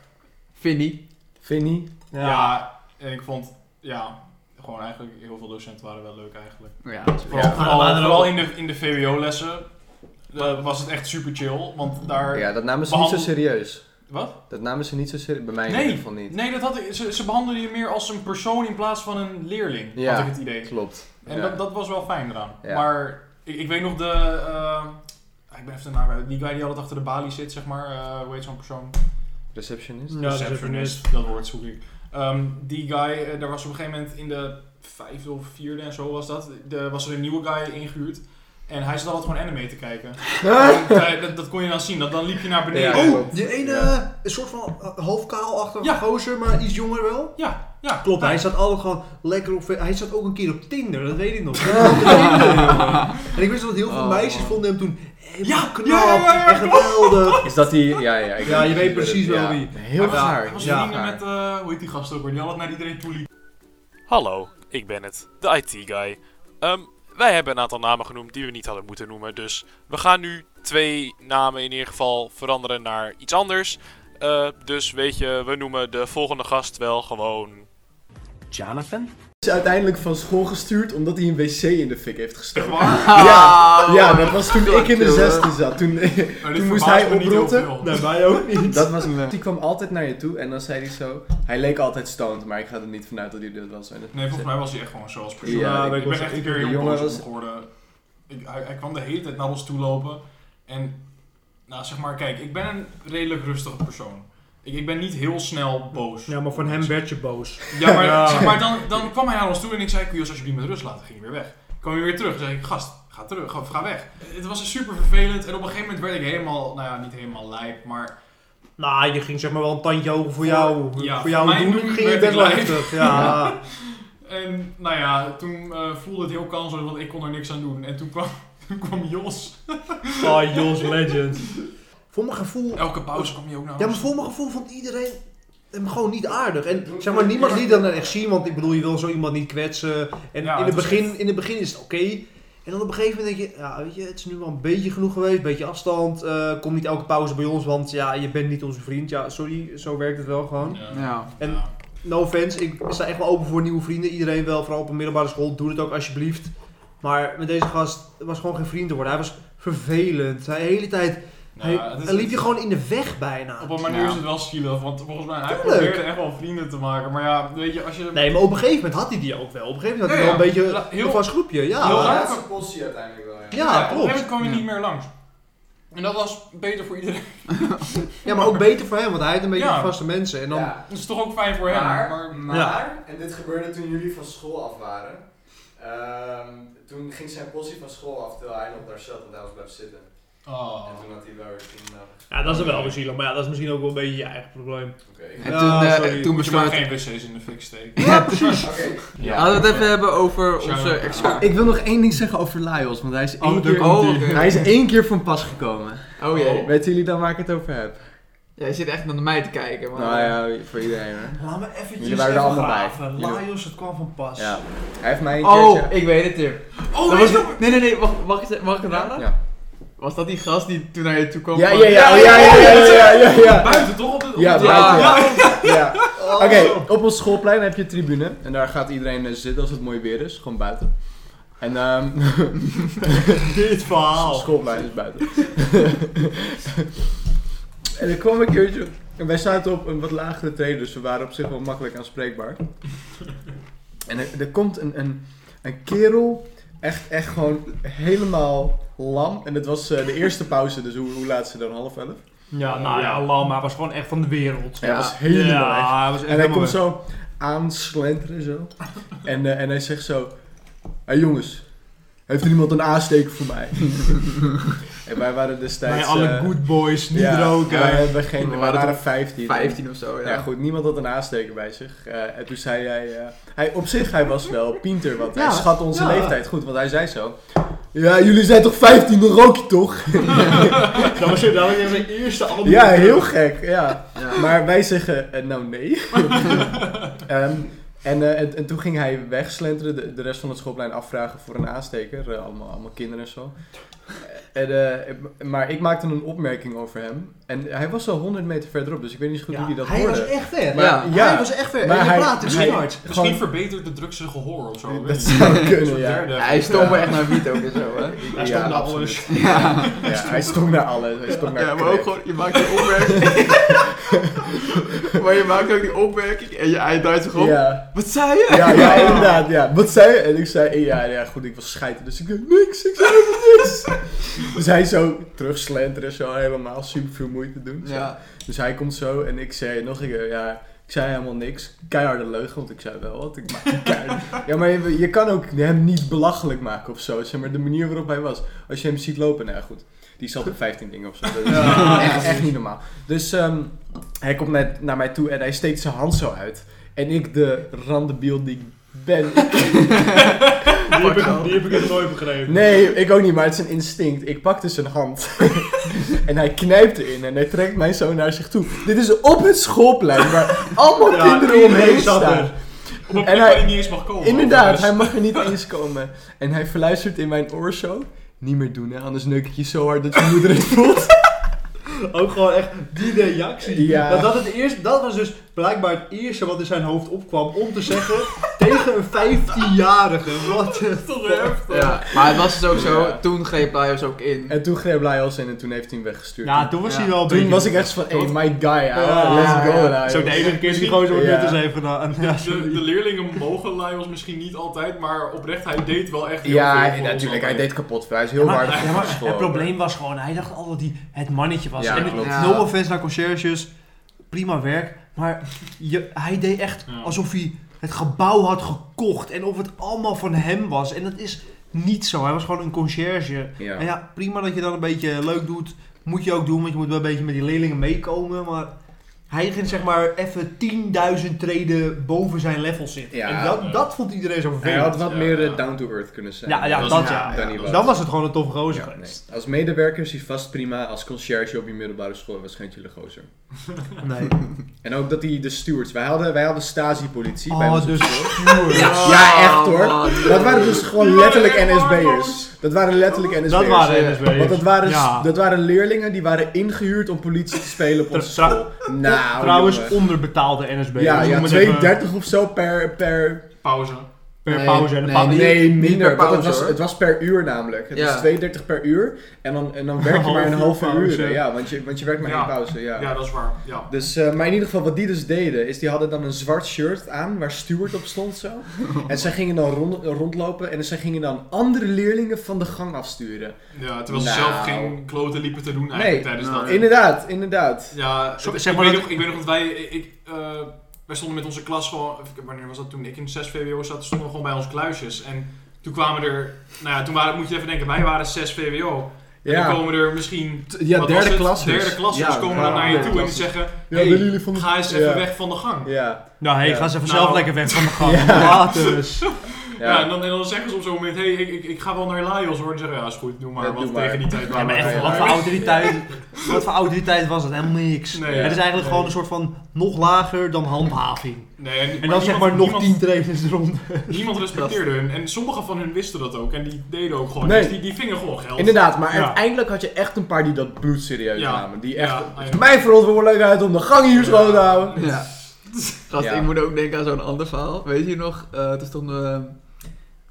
Vinnie. Vinnie. ja. en ik vond, ja, gewoon eigenlijk heel veel docenten waren wel leuk eigenlijk. Ja. Vooral, Ja. vooral, Maar er vooral ook- in de, in de VWO-lessen eh, was het echt super chill, want daar... Ja, dat namen ze Behandel- niet zo serieus. Wat? Dat namen ze niet zo serieus. Bij mij in Nee. ieder geval niet. Nee, dat had ik, ze, ze behandelden je meer als een persoon in plaats van een leerling, Ja. had ik het idee. Klopt. En Ja. dat, dat was wel fijn eraan. Ja. Maar ik, ik weet nog de... eh, ah, ik ben even de naam kwijt. Die guy die altijd achter de balie zit, zeg maar. eh, hoe heet zo'n persoon? Receptionist. Ja, Receptionist, Dus dat woord zoek ik. Ehm, die guy, eh, daar was op een gegeven moment in de vijfde of vierde en zo was dat, de, was er een nieuwe guy ingehuurd. En hij zat altijd gewoon anime te kijken. Ah. En, eh, dat, dat kon je dan zien. Dat, dan liep je naar beneden. Oh! Ja, Ja, klopt. Oh, Die ene Ja. een soort van eh, half kaal achter Ja. gozer, maar iets jonger wel. ja. Klopt, Nou, hij zat altijd gewoon lekker op... Hij zat ook een keer op Tinder, dat weet ik nog. Hij zat op Tinder, jongen. en ik wist dat heel veel Oh, meisjes man. vonden hem toen helemaal Ja, knap ja, ja, ja, en geweldig. Is dat die... Ja, ja, ik Ja, je weet ik precies wel ja. wie. Heel Hij was- raar. hij was heel vrienden raar. met, eh, hoe heet die gast ook weer, die altijd naar iedereen toe liep. Hallo, ik ben het, de IT-guy. Ehm, wij hebben een aantal namen genoemd die we niet hadden moeten noemen. Dus we gaan nu twee namen in ieder geval veranderen naar iets anders. Eh, dus weet je, we noemen de volgende gast wel gewoon. Hij is uiteindelijk van school gestuurd omdat hij een wc in de fik heeft Echt gestoken. waar? Ja, ja, dat was toen ik in de jongen. zesde zat. Toen, Maar Nou, dit toen moest verbaast hij me niet heel oprotten. veel. Nee, mij ook niet. Dat was Die kwam altijd naar je toe en dan zei hij zo... Hij leek altijd stoned, maar ik ga er niet vanuit dat hij dit was. En dat- Nee, volgens mij was hij echt gewoon zoals persoon. Ja, ik, ik ben was- echt een ik- keer de heel jongen boos was- op hem geworden. Ik, hij, hij kwam de hele tijd naar ons toe lopen. En, nou zeg maar, kijk, ik ben een redelijk rustige persoon. Ik, ik ben niet heel snel boos. Ja, maar van hem werd je boos. Ja, maar, Ja. Zeg maar dan, dan kwam hij naar ons toe en ik zei, kun je ons alsjeblieft met rust laten? Ging hij weer weg. Kwam hij weer terug, zei ik, gast, ga terug, ga, ga weg. Het was super vervelend en op een gegeven moment werd ik helemaal, nou ja, niet helemaal lijp, maar... Nou, je ging zeg maar wel een tandje hoger voor jou. Ja, voor voor jouw mij doen ging werd je best ik wel lijf. heftig. Ja. En, nou ja, toen eh, voelde het heel kansloos, want ik kon er niks aan doen. En toen kwam, toen kwam Jos. Oh, Jos Legend. Voor mijn gevoel... Elke pauze kwam je ook naar Ja, ons maar voor mijn gevoel vond iedereen hem gewoon niet aardig. En zeg maar, niemand liet dat dan echt zien, want ik bedoel, je wil zo iemand niet kwetsen. En Ja, in, het het is begin, in het begin is het oké. En dan op een gegeven moment denk je, ja, weet je, het is nu wel een beetje genoeg geweest, een beetje afstand. eh, kom niet elke pauze bij ons, want ja, je bent niet onze vriend. Ja, sorry, zo werkt het wel gewoon. Ja. Ja. En- No offense, ik sta echt wel open voor nieuwe vrienden. Iedereen wel, vooral op een middelbare school, doe het ook alsjeblieft. Maar met deze gast het was gewoon geen vriend te worden. Hij was vervelend. Hij de hele tijd, Nou, hij, het is- hij liep je gewoon in de weg bijna. Op een manier Ja. is het wel zielig, want volgens mij, hij Tuurlijk. probeerde echt wel vrienden te maken. Maar ja, weet je, als je... Nee, maar op een gegeven moment had hij die ook wel. Op een gegeven moment had Ja, hij wel ja. een La- beetje heel- een vast groepje. Ja, heel ja, raar. laatste postie uiteindelijk wel, ja. Ja, op een gegeven klopt. moment kwam je Ja. niet meer langs. En dat was beter voor iedereen. Ja, maar ook beter voor hem, want hij had een beetje Ja. vaste mensen. En dan, Ja. Dat is toch ook fijn voor hem. Maar, Mm. maar- maar Ja. en dit gebeurde toen jullie van school af waren. Ehm, toen ging zijn postie van school af terwijl hij nog daar zat, want hij was blijven zitten. Oh. En toen had hij wel weer vrienden nodig. ja, dat is wel weer zielig, maar ja, dat is misschien ook wel een beetje je eigen probleem. Oké. ik- En Ja, toen, eh, sorry. toen Moet je maar besloot geen wc's in de fik steken. Ja, precies. Oké. Laten we het even hebben over Shout-out. onze expert. Ik wil nog één ding zeggen over Laios, want hij is één daar keer... komt ie. Hij is één keer van pas gekomen. Oh jee. Weten jullie dan waar ik het over heb? Jij zit echt naar mij te kijken, maar... Nou ja, voor iedereen hoor. Laat me eventjes Jullie waren er even allemaal bij. graven. Jullie- Laios, het kwam van pas. Ja. Hij heeft mij een keertje... Oh, ik weet het, Tim. Oh, Dat weet was je nog- nee, nee, nee, wacht, mag, ik- mag ik het raden? Ja. Was dat die gast die toen naar je toe kwam? Ja, van- ja, ja, oh, ja, ja, ja, ja, ja, ja. Buiten toch? Op het, op Ja, het- Ja. buiten. Ja. Oké, op ons schoolplein heb je een tribune. En daar gaat iedereen eh, zitten als het mooi weer is. Gewoon buiten. En ehm Dit verhaal. schoolplein is buiten. en er kwam een keertje... En wij zaten op een wat lagere trede, dus we waren op zich wel makkelijk aanspreekbaar. En er, er komt een, een, een kerel, echt, echt gewoon helemaal lam. En het was eh, de eerste pauze, dus hoe, hoe laat ze dan? Half elf? Ja, nou ja, Lam, hij was gewoon echt van de wereld. Hij was helemaal echt. ja, hij was echt En hij helemaal komt weg. zo aanslenteren zo. En, eh, en hij zegt zo... Hé jongens, heeft er iemand een aansteker voor mij? en wij waren destijds... Bij alle eh, good boys, niet ja, roken. Wij, hebben geen, We we waren waren, 15. 15 of zo, ja. Ja goed, niemand had een aansteker bij zich. Eh, en toen zei hij, eh, hij... Op zich, hij was wel pinter, want Ja, hij schat onze ja. leeftijd goed. Want hij zei zo... Ja, jullie zijn toch 15, dan rook je toch? Dat was, dat was zijn eerste album. Ja, heel gek, ja. Ja. Maar wij zeggen, eh, nou nee. Ehm, en, eh, en, en toen ging hij wegslenteren, de, de rest van het schoolplein afvragen voor een aansteker. eh, allemaal, allemaal kinderen en zo. En, eh, maar ik maakte een opmerking over hem. En hij was al 100 meter verderop, dus ik weet niet zo goed Ja, hoe hij dat hij was hoorde. echt ver. Maar- Ja. ja. Hij was echt ver. Maar en je hij- praat hij- misschien hard. Misschien Gewoon- verbetert de drugs zijn gehoor of zo. Dat zou kunnen, ja. Ja, hij stond me echt naar wiet ook en zo, hè? Ja, Hij stond naar absoluut. alles. Ja, Ja, hij stond naar alles. Hij stond naar ja maar ook kreeg. gewoon, je maakt een opmerking. maar je maakt ook die opmerking en je, hij duidt zich op. Ja. Wat zei je? Ja, ja, inderdaad, ja. Wat zei je? En ik zei, eh, ja, ja, goed, ik was scheiter, dus ik deed niks, ik zei helemaal niks. Dus hij zo terugslenteren, zo helemaal super veel moeite doen. zo. Ja. Dus hij komt zo en ik zei nog een keer, ja, ik Ik zei helemaal niks. Keiharde leugen, want ik zei wel wat. Ik maakte keiharde- ja, maar je, je kan ook hem niet belachelijk maken of zo. Zeg maar de manier waarop hij was. Als je hem ziet lopen, nou ja, goed. Die zat op 15 dingen of zo. Dat is Ja. echt, echt niet normaal. Dus ehm, hij komt net naar mij toe en hij steekt zijn hand zo uit. En ik, de randebiel die ik ben, Die heb, ik, die heb ik nog nooit begrepen. Nee, ik ook niet, maar het is een instinct. Ik pakte zijn hand. en hij knijpt erin en hij trekt mij zo naar zich toe. Dit is op het schoolplein waar allemaal Ja, kinderen iedereen omheen zat staan. er. Oh, Op een plek En waar hij- hij niet eens mag komen. Inderdaad, overigens. hij mag er niet eens komen. En hij fluistert in mijn oor zo. Niet meer doen, hè? anders neuk ik je zo hard dat je moeder het voelt. Ook gewoon echt die reactie. Ja. Dat, dat, het eerste, dat was dus blijkbaar het eerste wat in zijn hoofd opkwam om te zeggen tegen een 15-jarige. Wat de Toch fuck? heftig. Ja, maar het was dus ook zo, Ja. toen greep Laios ook in. En toen greep Laios in en toen heeft hij hem weggestuurd. Ja, toen was Ja. hij wel een toen beetje- was ik echt van, hey, my guy, ouwe. Ja, let's go, ja. Laios. Zo de enige keer die gozer wordt Ja. net eens even gedaan. Ja, De, sorry. de leerlingen mogen Lyles misschien niet altijd, maar oprecht, hij deed wel echt heel veel. Ja, voor en ons natuurlijk, hij altijd. deed kapot. Hij is heel maar- waardevol ja, maar voor school. Het probleem was gewoon, hij dacht al dat hij het mannetje was. Ja, en klopt. Ja. No no offense naar conciërges, prima werk. Maar je, hij deed echt Ja. alsof hij het gebouw had gekocht en of het allemaal van hem was. En dat is niet zo. Hij was gewoon een conciërge. Ja. En ja, prima dat je dan een beetje leuk doet. Moet je ook doen, want je moet wel een beetje met die leerlingen meekomen. Maar hij ging zeg maar even 10.000 treden boven zijn level zitten. Ja. en dat, dat vond iedereen zo Hij vervelend. had wat Ja, meer eh, ja. down-to-earth kunnen zijn. Ja, ja, Dat dat is- ja. Danny Ja, Wout. dat Dan was het gewoon een toffe gozer Ja, nee. geweest. Als medewerker is hij vast prima. Als conciërge op je middelbare school was geen chille gozer. Nee. En ook dat hij de stewards... Wij hadden, wij hadden stasi-politie bij ons Oh, op dus school. stuur. Ja, echt hoor. Oh, Dat waren dus gewoon Die waren letterlijk echt NSB'ers. waardeloos. Dat waren letterlijk NSB'ers. Dat waren NSB'ers. Want dat waren, Ja. dat waren leerlingen die waren ingehuurd om politie te spelen op onze Tra- school. Nou, Trouwens, jongen. onderbetaalde NSB. Ja, ja 2,30 per of zo per, per, Pauze. Nee, pauze. En een nee, pauze. Nee, niet minder. per want pauze, het, was, hoor. het was per uur namelijk. Het Ja. was 32 per uur. En dan, en dan werk je maar een Half halve uur uur. pauze. Ja, want je, want je werkt maar Ja. één pauze. Ja. Ja, dat is waar. Ja. Dus, eh, maar in ieder geval, wat die dus deden, is die hadden dan een zwart shirt aan waar Stuart op stond zo. En zij gingen dan rond, rondlopen en zij gingen dan andere leerlingen van de gang afsturen. Ja, terwijl ze Nou. zelf geen kloten liepen te doen Nee, eigenlijk tijdens nou, dat. Inderdaad, inderdaad. Ja, Zo- ik, zeg ik maar weet dat- nog, ik weet nog dat wij, ik, eh, wij stonden met onze klas gewoon, even- wanneer was dat toen ik in 6 VWO zat, stonden we gewoon bij onze kluisjes. En toen kwamen er, nou ja, toen waren, moet je even denken, wij waren 6 VWO. En dan Ja, komen er misschien, T- ja wat was derde het? klassers. Derde klassers Ja, komen ja, dan naar je derde toe en die klassers. zeggen, Ja, hey, willen jullie van de- ga eens even Ja. weg van de gang. Ja. ja. Nou hé, Ja. ga eens even Nou. zelf lekker weg van de gang. Ja. Laters. en, dan, en dan zeggen ze op zo'n moment, hey, ik, ik, ik ga wel naar Laios hoor. En zeggen, ja is goed, doe maar, Ja, want doe maar. tegen die tijd Ja, waren maar we echt, klaar. wat voor autoriteit, wat voor autoriteit was het? Helemaal niks. Nee, het is ja. eigenlijk Nee. gewoon een soort van nog lager dan handhaving. Nee, en, En dan zeg maar nog niemand, 10 trainers eronder. Niemand respecteerde hun. En sommigen van hun wisten dat ook. En die deden ook gewoon. Nee. Dus die, die vingen gewoon geld. Inderdaad, maar Ja. uiteindelijk had je echt een paar die dat bloedserieus Ja. namen. Die echt, Ja, het is ja. mijn verantwoordelijkheid om de gang hier schoon te houden. Ja. Gast, Ja. ik moet ook denken aan zo'n ander verhaal. Weet je nog, eh, toen stonden we...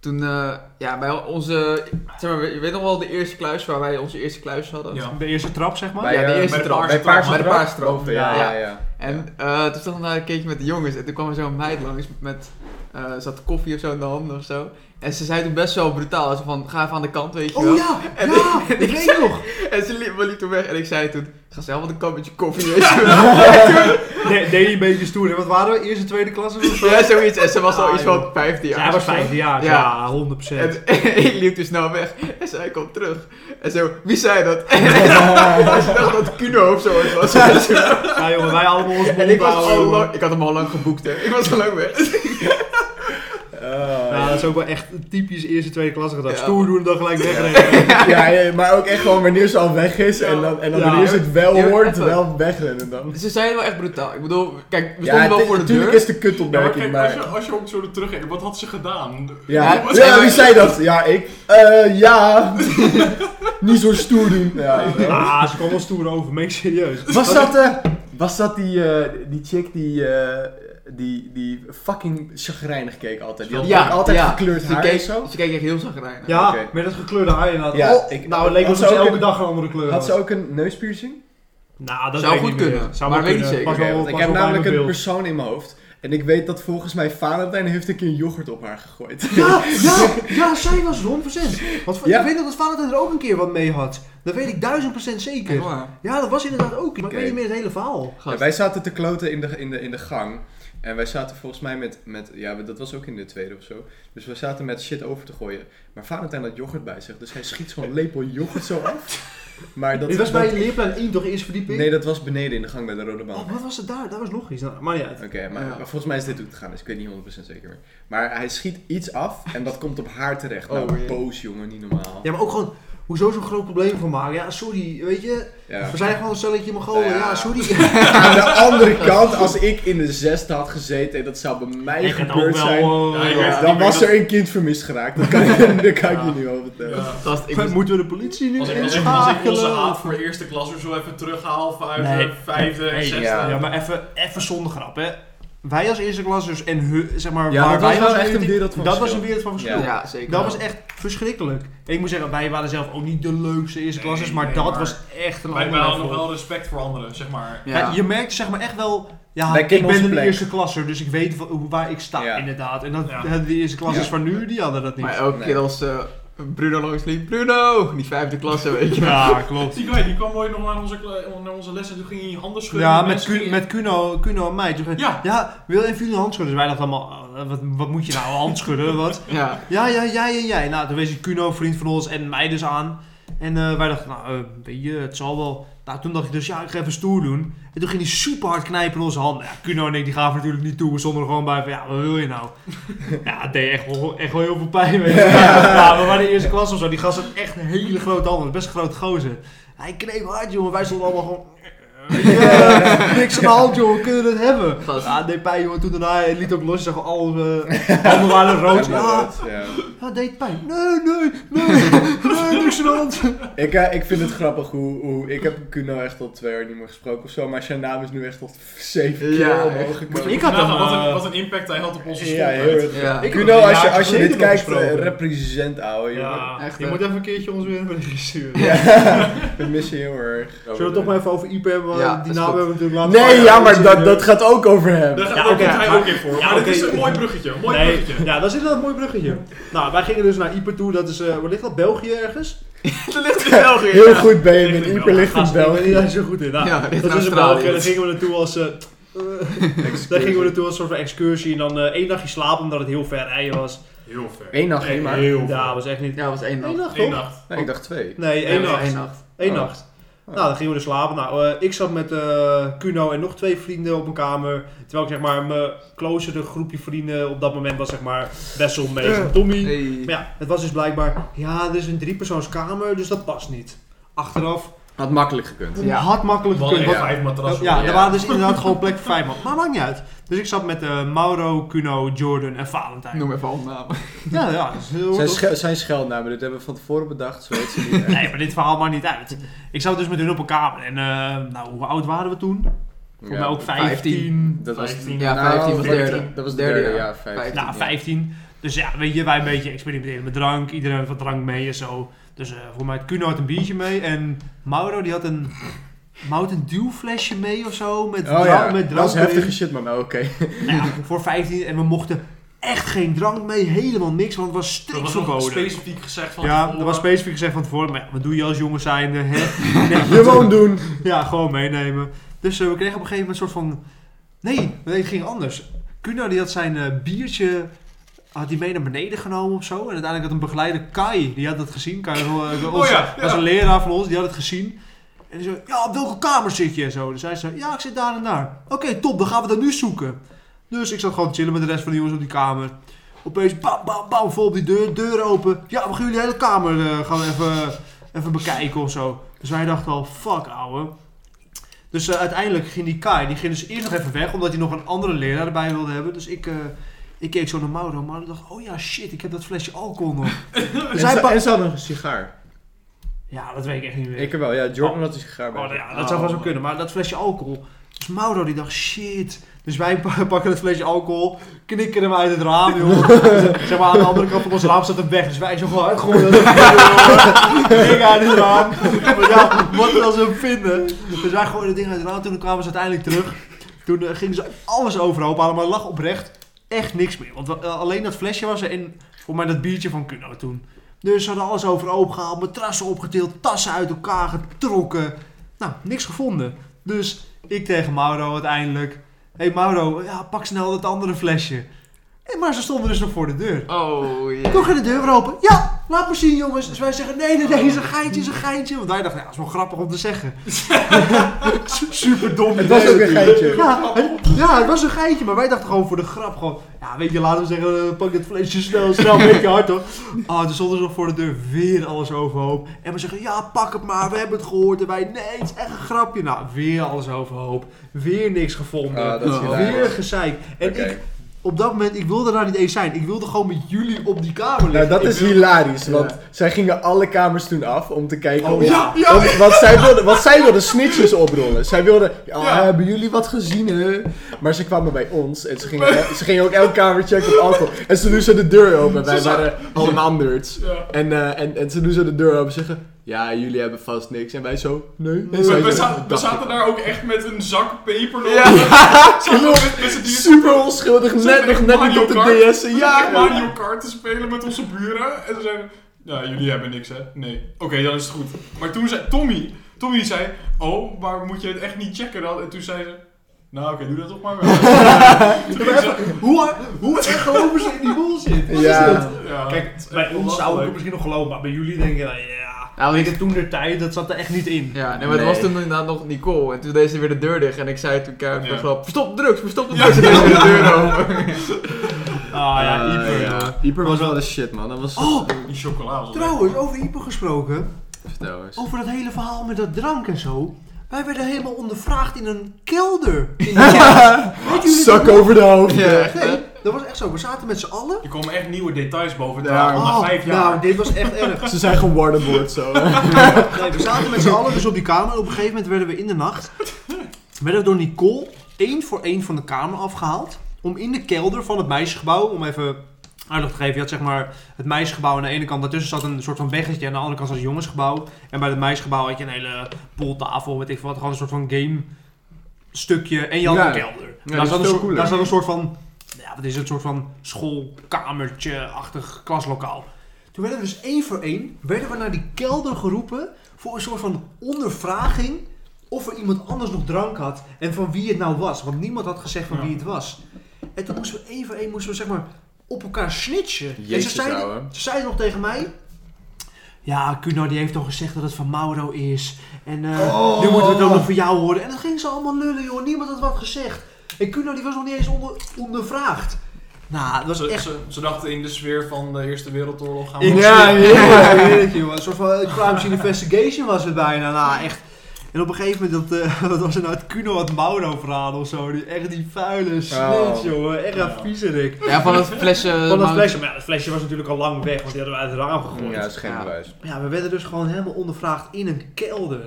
Toen, eh, ja, bij onze... Zeg maar, je weet nog wel de eerste kluis waar wij onze eerste kluis hadden? Ja. De eerste trap, zeg maar. Bij, Ja, de eh, eerste bij trap. Bij Bij paarse de trap. paarse trap. Boven, ja, ja, Ja. ja. En eh, toen stond ik daar een keertje met de jongens en toen kwam er zo'n meid langs met, eh zat koffie of zo in de handen of zo. En ze zei toen best wel brutaal, zo van, ga even aan de kant, weet je wel. Oh ja, En ja, ik- ik weet nog. En ze liep, liep toen weg en ik zei toen, ga zelf aan de kant met je koffie, weet je wel. Nee, deed hij een beetje stoer. hè? Wat waren we? Eerste, tweede klasse? of zo? Ja, zoiets. En ze was al Ah, iets van 15 jaar. Hij was of zo. vijfde jaar, Ja. ja, 100%. En, ik liep dus snel weg en zij komt terug. En zo, wie zei dat? En ze dacht dat Kuno of zo het was. Ja jongen, wij allemaal ons En mond ik, was houden, al jongen. lang, ik had hem al lang geboekt, hè. Ik was al lang weg. Oh, Ja, dat is ook wel echt een typisch eerste, tweede klasse gedaan. Ja. Stoer doen en dan gelijk wegrennen. ja, ja, maar ook echt gewoon wanneer ze al weg is en dan, en dan Ja. wanneer ze het wel Ja, maar hoort, even. wel wegrennen dan. Ze zijn wel echt brutaal. Ik bedoel, kijk, we stonden Ja, wel het- voor de natuurlijk deur. is de Ja, maar kutopmerking, kijk, maar... als, je, als je ook zo er terugkijkt, wat had ze gedaan? Ja, Ja, ja, maar- wie zei dat? Ja, ik. Eh, ja. Niet zo stoer doen. Ja, ik- Ah, ze kwam wel stoer over. Meen ik serieus. Was dat, eh, was dat die, eh, die chick die, eh, die, die fucking chagrijnig keek altijd? Die had Ja, ook altijd ja. gekleurd Ze haar keek, en zo. ze keek echt heel zagrijnig. Ja, Oké. met dat gekleurde haar inderdaad. Ja, Oh, ik- nou, het leek had alsof ze ze ook elke een- dag een andere kleur Had ze ook een neuspiercing? Nou, dat Zou weet ik goed niet meer. kunnen, Zou maar wel weet niet kunnen. zeker. Pas wel- Oké, want pas ik heb wel bij namelijk mijn een beeld. persoon in mijn hoofd. En ik weet dat volgens mij Valentijn heeft een keer yoghurt op haar gegooid. Ja, ja, ja, zij was het 100%. Want Ja. ik weet nog dat Valentijn er ook een keer wat mee had. Dat weet ik 1000% zeker. Ja, dat was inderdaad ook. Maar Oké. ik weet niet meer het hele verhaal. Ja, wij zaten te kloten in de, in de, in de gang. En wij zaten volgens mij met, met... Ja, dat was ook in de tweede of zo. Dus we zaten met shit over te gooien. Maar Valentijn had yoghurt bij zich. Dus hij schiet zo'n lepel yoghurt zo af. Maar dat... Dit was dat- bij leerplein 1 toch, eerste verdieping? Nee, dat was beneden in de gang bij de Rode Bank. Oh, wat was het daar? Daar was nog iets. Nou, Maar ja, Oké, het- maar, maar volgens mij is dit ook te gaan, dus ik weet niet 100% zeker meer. Maar hij schiet iets af en dat komt op haar terecht. Oh, nou, jee. boos jongen, niet normaal. ja, maar ook gewoon, hoezo zo'n groot probleem van maken? Ja, sorry, weet je, Ja. we zijn gewoon een stelletje Mongolen. Ja. Ja, sorry. Aan de andere kant, als ik in de zesde had gezeten en dat zou bij mij Ik had ook gebeurd zijn, wel... Ja, ik eh, weet het dan niet, was maar er een kind vermist geraakt. Dat kan, ik- daar kan ik je niet over vertellen. Ja. Gast, ik was, Moeten we de politie nu Als ik, als, ik, als ik onze haat voor eerste klas of zo even terughaal vanuit Nee. de vijfde en Nee, zesde. ja. Ja, maar even, even zonder grap, hè. Wij als eerste klas, dus en hun, zeg maar, Ja, waar dat was wij wel als echt eerste- een wereld van Dat was verschil. een wereld van verschil. Ja. ja, zeker. Dat was echt verschrikkelijk. En ik moet zeggen, wij waren zelf ook niet de leukste eerste Nee, klasses, maar nee, dat maar- was echt een Wij ander hadden nog level. wel respect voor anderen, zeg maar. Ja. Ja. je merkt zeg maar echt wel, ja, Wij ik kennen ben onze een plek. eerste klasser, dus ik weet wa- hoe- waar ik sta Ja. inderdaad. En dat Ja. hadden de eerste klassers Ja. van nu, die hadden dat niet. Maar elke Nee. keer als eh, Bruno langs liep, Bruno! Die vijfde klasse, weet je. Ja, klopt. Die guy die kwam ooit nog naar onze, kle- naar onze les en toen ging hij handen schudden. ja, en met, mensen Cu- gingen- met Kuno, Kuno en mij. Toen zei- Ja. ja, wil even jullie handschudden? Dus wij dachten allemaal, eh, wat, wat moet je nou, handschudden? Wat? Ja. Ja, ja, jij en jij. Nou, toen wees ik Kuno, vriend van ons, en mij dus aan. En eh, wij dachten, nou, eh, weet je, het zal wel. Nou, toen dacht ik dus, ja, ik ga even stoer doen. En toen ging hij super hard knijpen in onze handen. Ja, Kuno en ik, die gaven natuurlijk niet toe. We stonden er gewoon bij van, ja, wat wil je nou? ja, het deed echt wel, echt wel heel veel pijn. Weet je. ja, we waren de eerste klas of zo. Die gast had echt een hele grote handen. Best een grote gozer. Hij kneep hard, jongen. Wij stonden allemaal gewoon... Ja, niks aan de hand, jongen. Kunnen we het hebben? Gast. Ja, het deed pijn, jongen. Toen daarna eh, liet ook los. Je zag al... eh, handen waren rood. Ja, Ja. ja, het deed pijn. Nee, nee, nee, nee, niks aan de hand. Ik, eh, ik vind het grappig hoe, hoe... Ik heb Kuno echt al twee jaar niet meer gesproken of zo, maar zijn naam is nu echt al zeven keer Ja, omhoog gekomen. Ik had hem... Nagaan wat, een, eh, wat een impact hij had op onze school. Ja, heel erg. Ja. Ik- Kuno, heb hem als je, een als je jaar dit geleden nog kijkt, eh, gesproken. represent ouwe, jongen. ja, Echt, je eh. moet even een keertje ons weer een berichtje sturen. Ja, we missen je heel erg. Zullen we het toch maar even over IP hebben? want Ja, die is naam goed. hebben we natuurlijk laten Nee, ja, maar dat, dat gaat ook over hem. Daar, Ja, daar oké. komt hij ook in voor. Ja, maar dit oké. is een mooi bruggetje. Mooi Nee, bruggetje. ja, dat is inderdaad een mooi bruggetje. Nou, wij gingen dus naar Ieper toe. Dat is, eh waar ligt dat? België ergens? Dat ligt in België. Heel goed ben je Ligt met in Ieper ligt in Gast, ik ben België. niet eens zo goed in. Nou, Ja, dit is dat is in Australië. België. Daar gingen we naartoe als... eh, daar gingen we naartoe als soort van excursie. En dan eh, één dagje slapen, omdat het heel ver rijden was. Heel ver. Eén nacht, één maar. Heel ver. Ja, was echt niet... Ja, dat was één Eén nacht. nacht, Eén toch? nacht. Nee, ik dacht twee. Nee, één Ja, dat was nacht. één nacht. Eén Oh. nacht. Oh. Nou, dan gingen we dus slapen. Nou, eh, ik zat met eh, Kuno en nog twee vrienden op een kamer. Terwijl ik zeg maar mijn closere groepje vrienden op dat moment was zeg maar Wessel, Mees en Tommy. Hey. Maar ja, het was dus blijkbaar, ja, er is een driepersoonskamer, dus dat past niet. Achteraf, Had makkelijk gekund. ja. had makkelijk We hadden gekund. echt Ja, vijf matrassen. ja, Ja, er waren dus inderdaad gewoon plek voor vijf man. Maar maakt niet uit. Dus ik zat met eh, Mauro, Kuno, Jordan en Valentijn. Noem even alle namen. Ja, ja. dat is heel Zijn, goed. schel- zijn scheldnamen, dit hebben we van tevoren bedacht, zo heet ze niet. echt. Nee, maar dit verhaal maakt niet uit. Ik zat dus met hun op een kamer. En eh, nou, hoe oud waren we toen? Volgens mij ook 15. dat was 15. Ja, Nou, 15 was 14. derde. Dat was Derde, derde, ja. ja, 15. Nou, ja. 15. Dus ja, weet je, wij een beetje experimenteren met drank. Iedereen had wat drank mee en zo. Dus eh voor mij, had Kuno had een biertje mee. En Mauro, die had een Mountain Dew flesje mee of zo. Met Oh drank. ja, met dat drank was heftige erin. shit, man. Oké. Nou ja, voor 15. En we mochten echt geen drank mee. Helemaal niks, want het was Dat strikt was nog verboden. specifiek gezegd van ja, tevoren. dat was specifiek gezegd van tevoren. Maar ja, wat doe je als jongen zijnde? Hè? Nee, eh, Gewoon doen. Ja, gewoon meenemen. Dus eh, we kregen op een gegeven moment een soort van... Nee, nee, het ging anders. Kuno die had zijn eh, biertje... Had die mee naar beneden genomen of zo. En uiteindelijk had een begeleider Kai. Die had dat gezien. Kai was, eh, onze- Oh ja, ja. was een leraar van ons. Die had het gezien. En die zei, ja, op welke kamer zit je? En zo. Dus hij zei, ja, ik zit daar en daar. Oké, top, dan gaan we dat nu zoeken. Dus ik zat gewoon chillen met de rest van de jongens op die kamer. Opeens, bam, bam, bam, vol op die deur, deur open. Ja, we gaan jullie hele kamer eh, gaan we even, even bekijken of zo. Dus wij dachten al, fuck ouwe. Dus eh, uiteindelijk ging die Kai, die ging dus eerst nog even weg, omdat hij nog een andere leraar erbij wilde hebben. Dus ik, eh, ik keek zo naar Mauro, maar ik dacht, oh ja, shit, ik heb dat flesje alcohol nog. En dus hij ze, pa- en ze hadden een sigaar. ja, dat weet ik echt niet meer. Ik heb wel, ja, Jordan had een sigaar bij. Oh, nou zich. ja, dat zou wel zo kunnen, maar dat flesje alcohol. Dus Mauro die dacht, shit. Dus wij pa- pakken het flesje alcohol, knikken hem uit het raam, joh. zeg maar, aan de andere kant van ons raam staat hem weg. Dus wij zo gewoon uitgooien. Ding uit het raam. Maar ja, wat als ze hem vinden. Dus wij gooien het ding uit het raam, toen kwamen ze uiteindelijk terug. Toen eh, gingen ze alles overhoop halen, maar er lag oprecht echt niks meer. Want we- eh, alleen dat flesje was er en voor mij dat biertje van Kuno toen. Dus ze hadden alles overhoop gehaald, matrassen opgetild, tassen uit elkaar getrokken. Nou, niks gevonden. Dus ik tegen Mauro uiteindelijk. Hé hey Mauro, ja, pak snel dat andere flesje. En maar ze stonden dus nog voor de deur. Oh, jee. Toen ging de deur weer open. Ja, laat maar zien jongens. Dus wij zeggen, nee, nee, nee, is een geintje, is een geintje. Want wij dachten, ja, dat is wel grappig om te zeggen. Super dom. Het was ook een geintje. Ja, het, ja, het was een geintje, maar wij dachten gewoon voor de grap gewoon... Ja, weet je, laten we zeggen, eh, pak dat flesje snel, snel, een beetje hard hoor. Ah, toen stonden ze nog voor de deur weer alles overhoop. En we zeggen, ja, pak het maar, we hebben het gehoord. En wij, nee, het is echt een grapje. Nou, weer alles overhoop. Weer niks gevonden. Ah, dat is hilarisch. weer gezeik. En Oké. ik, op dat moment, ik wilde daar niet eens zijn. Ik wilde gewoon met jullie op die kamer Nou, liggen. dat Ik is wilde- hilarisch, want zij gingen alle kamers toen af om te kijken. Oh, of- ja, ja, om- want, zij wilden, want zij wilden snitches oprollen. Zij wilden, ja, hebben jullie wat gezien, hè? Maar ze kwamen bij ons en ze gingen, ze gingen ook elke kamer checken op alcohol. En ze doen ze de deur open, wij waren allemaal nerds. Ja. En, eh, en, en ze doen ze de deur open en zeggen, ja, jullie hebben vast niks. En wij zo, nee. En zij zo, We, we, za- we "Dacht ik zaten al." daar ook echt met een zak peper. nog. Ja. Zaten we met, met z'n drieën Super onschuldig, net zaten nog echt net niet Mario op de Kart. DS. en. We zaten Ja, echt Mario Kart te spelen met onze buren. En ze zeiden, ja, jullie hebben niks, hè? Nee. Oké, dan is het goed. Maar toen zei Tommy, Tommy die zei, oh, maar moet je het echt niet checken dan? En toen zei ze, nou oké, doe dat toch maar wel. Toen Maar zei even, ze, Hoe, hoe echt geloven ze in die bullshit? Wat Ja. is dit? ja, Kijk, het is echt bij ons zou ik belachelijk. het misschien nog geloven, maar bij jullie denk je, nou, ja. Nou, weet weet je, toen de tijd, dat zat er echt niet in. Ja, nee, maar het was Nee. toen inderdaad nog Nicole. En toen deed ze weer de deur dicht. En ik zei toen keihard voor Ja. grap, verstop de drugs, verstop de drugs. En deed ze weer de deur open. Ah ja, Eh, Ieper. ja. Ieper was wel de shit, man. Dat was... Oh, Die chocola was trouwens, over Ieper gesproken. Vertel eens. Over dat hele verhaal met dat drank en zo. Wij werden helemaal ondervraagd in een kelder. In de kerk. Weet jullie dat Zak over de hoofd. Ja, nog? Nee, dat was echt zo. We zaten met z'n allen. Er komen echt nieuwe details boven. Ja. Ja, na Oh, vijf jaar. nou, dit was echt erg. Ze zijn gewoon waterboard zo. Nee, we zaten met z'n allen dus op die kamer. Op een gegeven moment werden we in de nacht. werden we door Nicole één voor één van de kamer afgehaald. Om in de kelder van het meisjesgebouw. Om even uitleg te geven. Je had zeg maar het meisjesgebouw aan de ene kant. Daartussen zat een soort van weggetje. En aan de andere kant zat het jongensgebouw. En bij het meisjesgebouw had je een hele pooltafel. Weet ik veel wat. Gewoon een soort van game stukje. En je had Ja. een kelder. Ja, dus daar, dat is zat een veel soort, cooler. daar zat een soort van. Ja, wat is het? Een soort van schoolkamertje-achtig klaslokaal. Toen werden we dus één voor één werden we naar die kelder geroepen voor een soort van ondervraging of er iemand anders nog drank had en van wie het nou was. Want niemand had gezegd van Ja. wie het was. En toen moesten we één voor één moesten we zeg maar op elkaar snitchen. en ze Jezus, zeiden, ouwe. ze zeiden nog tegen mij. Ja, Kuno die heeft toch gezegd dat het van Mauro is. En eh, Oh. nu moeten we het ook nog van jou horen. En dan gingen ze allemaal lullen, joh. Niemand had wat gezegd. En Kuno die was nog niet eens onder, ondervraagd. Nou, dat was ze, echt... ze, ze dachten in de sfeer van de Eerste Wereldoorlog gaan we... Ja, ja, ik weet het, joh. Een soort van eh, crime scene investigation was het bijna. Nou, echt. En op een gegeven moment, dat, eh, wat was er nou, het Kuno het Mauro verhaal of zo. Die, echt die vuile snitch, Oh. jongen. Echt een viezerik. Ja, van het flesje... Van dat Mount- flesje, maar ja, dat flesje was natuurlijk al lang weg, want die hadden we uit het raam gegooid. Ja, Ja, dat is geen Ja. bewijs. we werden dus gewoon helemaal ondervraagd in een kelder.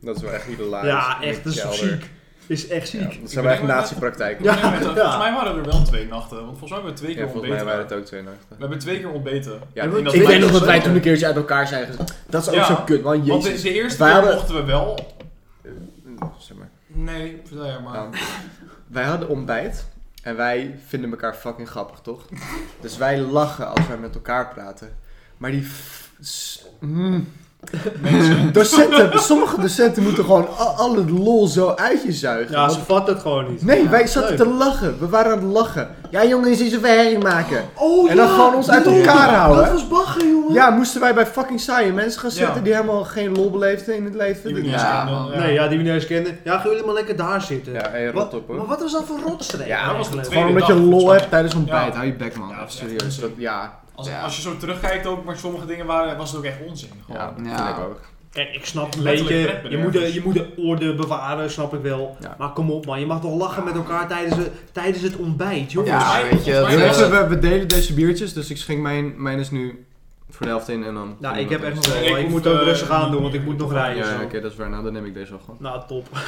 Dat is wel echt hilarisch. ja, In echt, dat de is toch kelder. ziek. Is echt ziek. Ja, dat zijn wel echt nazi-praktijken. Ja. Ja, Nee, maar het- Ja. Volgens mij waren er wel twee nachten. Want volgens mij hebben we twee keer volgens ontbeten. mij waren het ook twee nachten. We hebben twee keer ontbeten. Ja, Ik in dat ik weet meisjes- nog dat wij toen een keertje uit elkaar zijn gezet. Dat is ook Ja, zo kut, man. Want de, Jezus. de eerste Wij keer hadden- mochten we wel. Mm, Zeg maar. Nee, vertel jij maar. Nou, wij hadden ontbijt en wij vinden elkaar fucking grappig, toch? Dus wij lachen als wij met elkaar praten. Maar die... f- s- mm. Docenten, sommige docenten moeten gewoon al, al het lol zo uit je zuigen. Ja, want- ze vat het gewoon niet. Nee, Ja, wij zaten leuk. te lachen. We waren aan het lachen. Ja, jongens, eens even herrie maken. Oh, En dan ja, gewoon ons uit lol. elkaar houden. Dat was bagger, jongen. Ja, moesten wij bij fucking saaie mensen gaan Ja. zitten die helemaal geen lol beleefden in het Die leven? we niet eens Ja, kenden, Nee, ja, die we niet eens kenden. Ja, gaan jullie maar lekker daar zitten. Ja, hey, rot Wat- op Maar hoor. wat was dat voor rotstreek? Ja, dat was de eigenlijk? tweede Gewoon omdat je dag, lol volgens hebt tijdens ontbijt. Ja. Hou je bek man, Ja, even dat is echt serieus. Dat, ja, Als, Ja. als je zo terugkijkt ook, maar sommige dingen waren, was het ook echt onzin. Gewoon. ja, dat Ja. vind ik ook. Kijk, ik snap een Letterlijk beetje. Je pretbederf. moet, de, je moet de orde bewaren, snap ik wel. Ja. Maar kom op, man. Je mag toch lachen met elkaar tijdens, het- tijdens het ontbijt, jongens. Ja, Volgens mij- weet je, volgens mij dat- was het- Mensen, we, we delen deze biertjes, dus ik schenk mijn, mijn is nu voor de helft in en dan... Nou, ik heb echt nog wel. Ik Ik, hoef, moet ook eh, rustig aan niet doen, want ik meer. moet nog Ja, rijden. ja, zo. oké, dat is waar. Nou, dan neem ik deze al gewoon. Nou, top.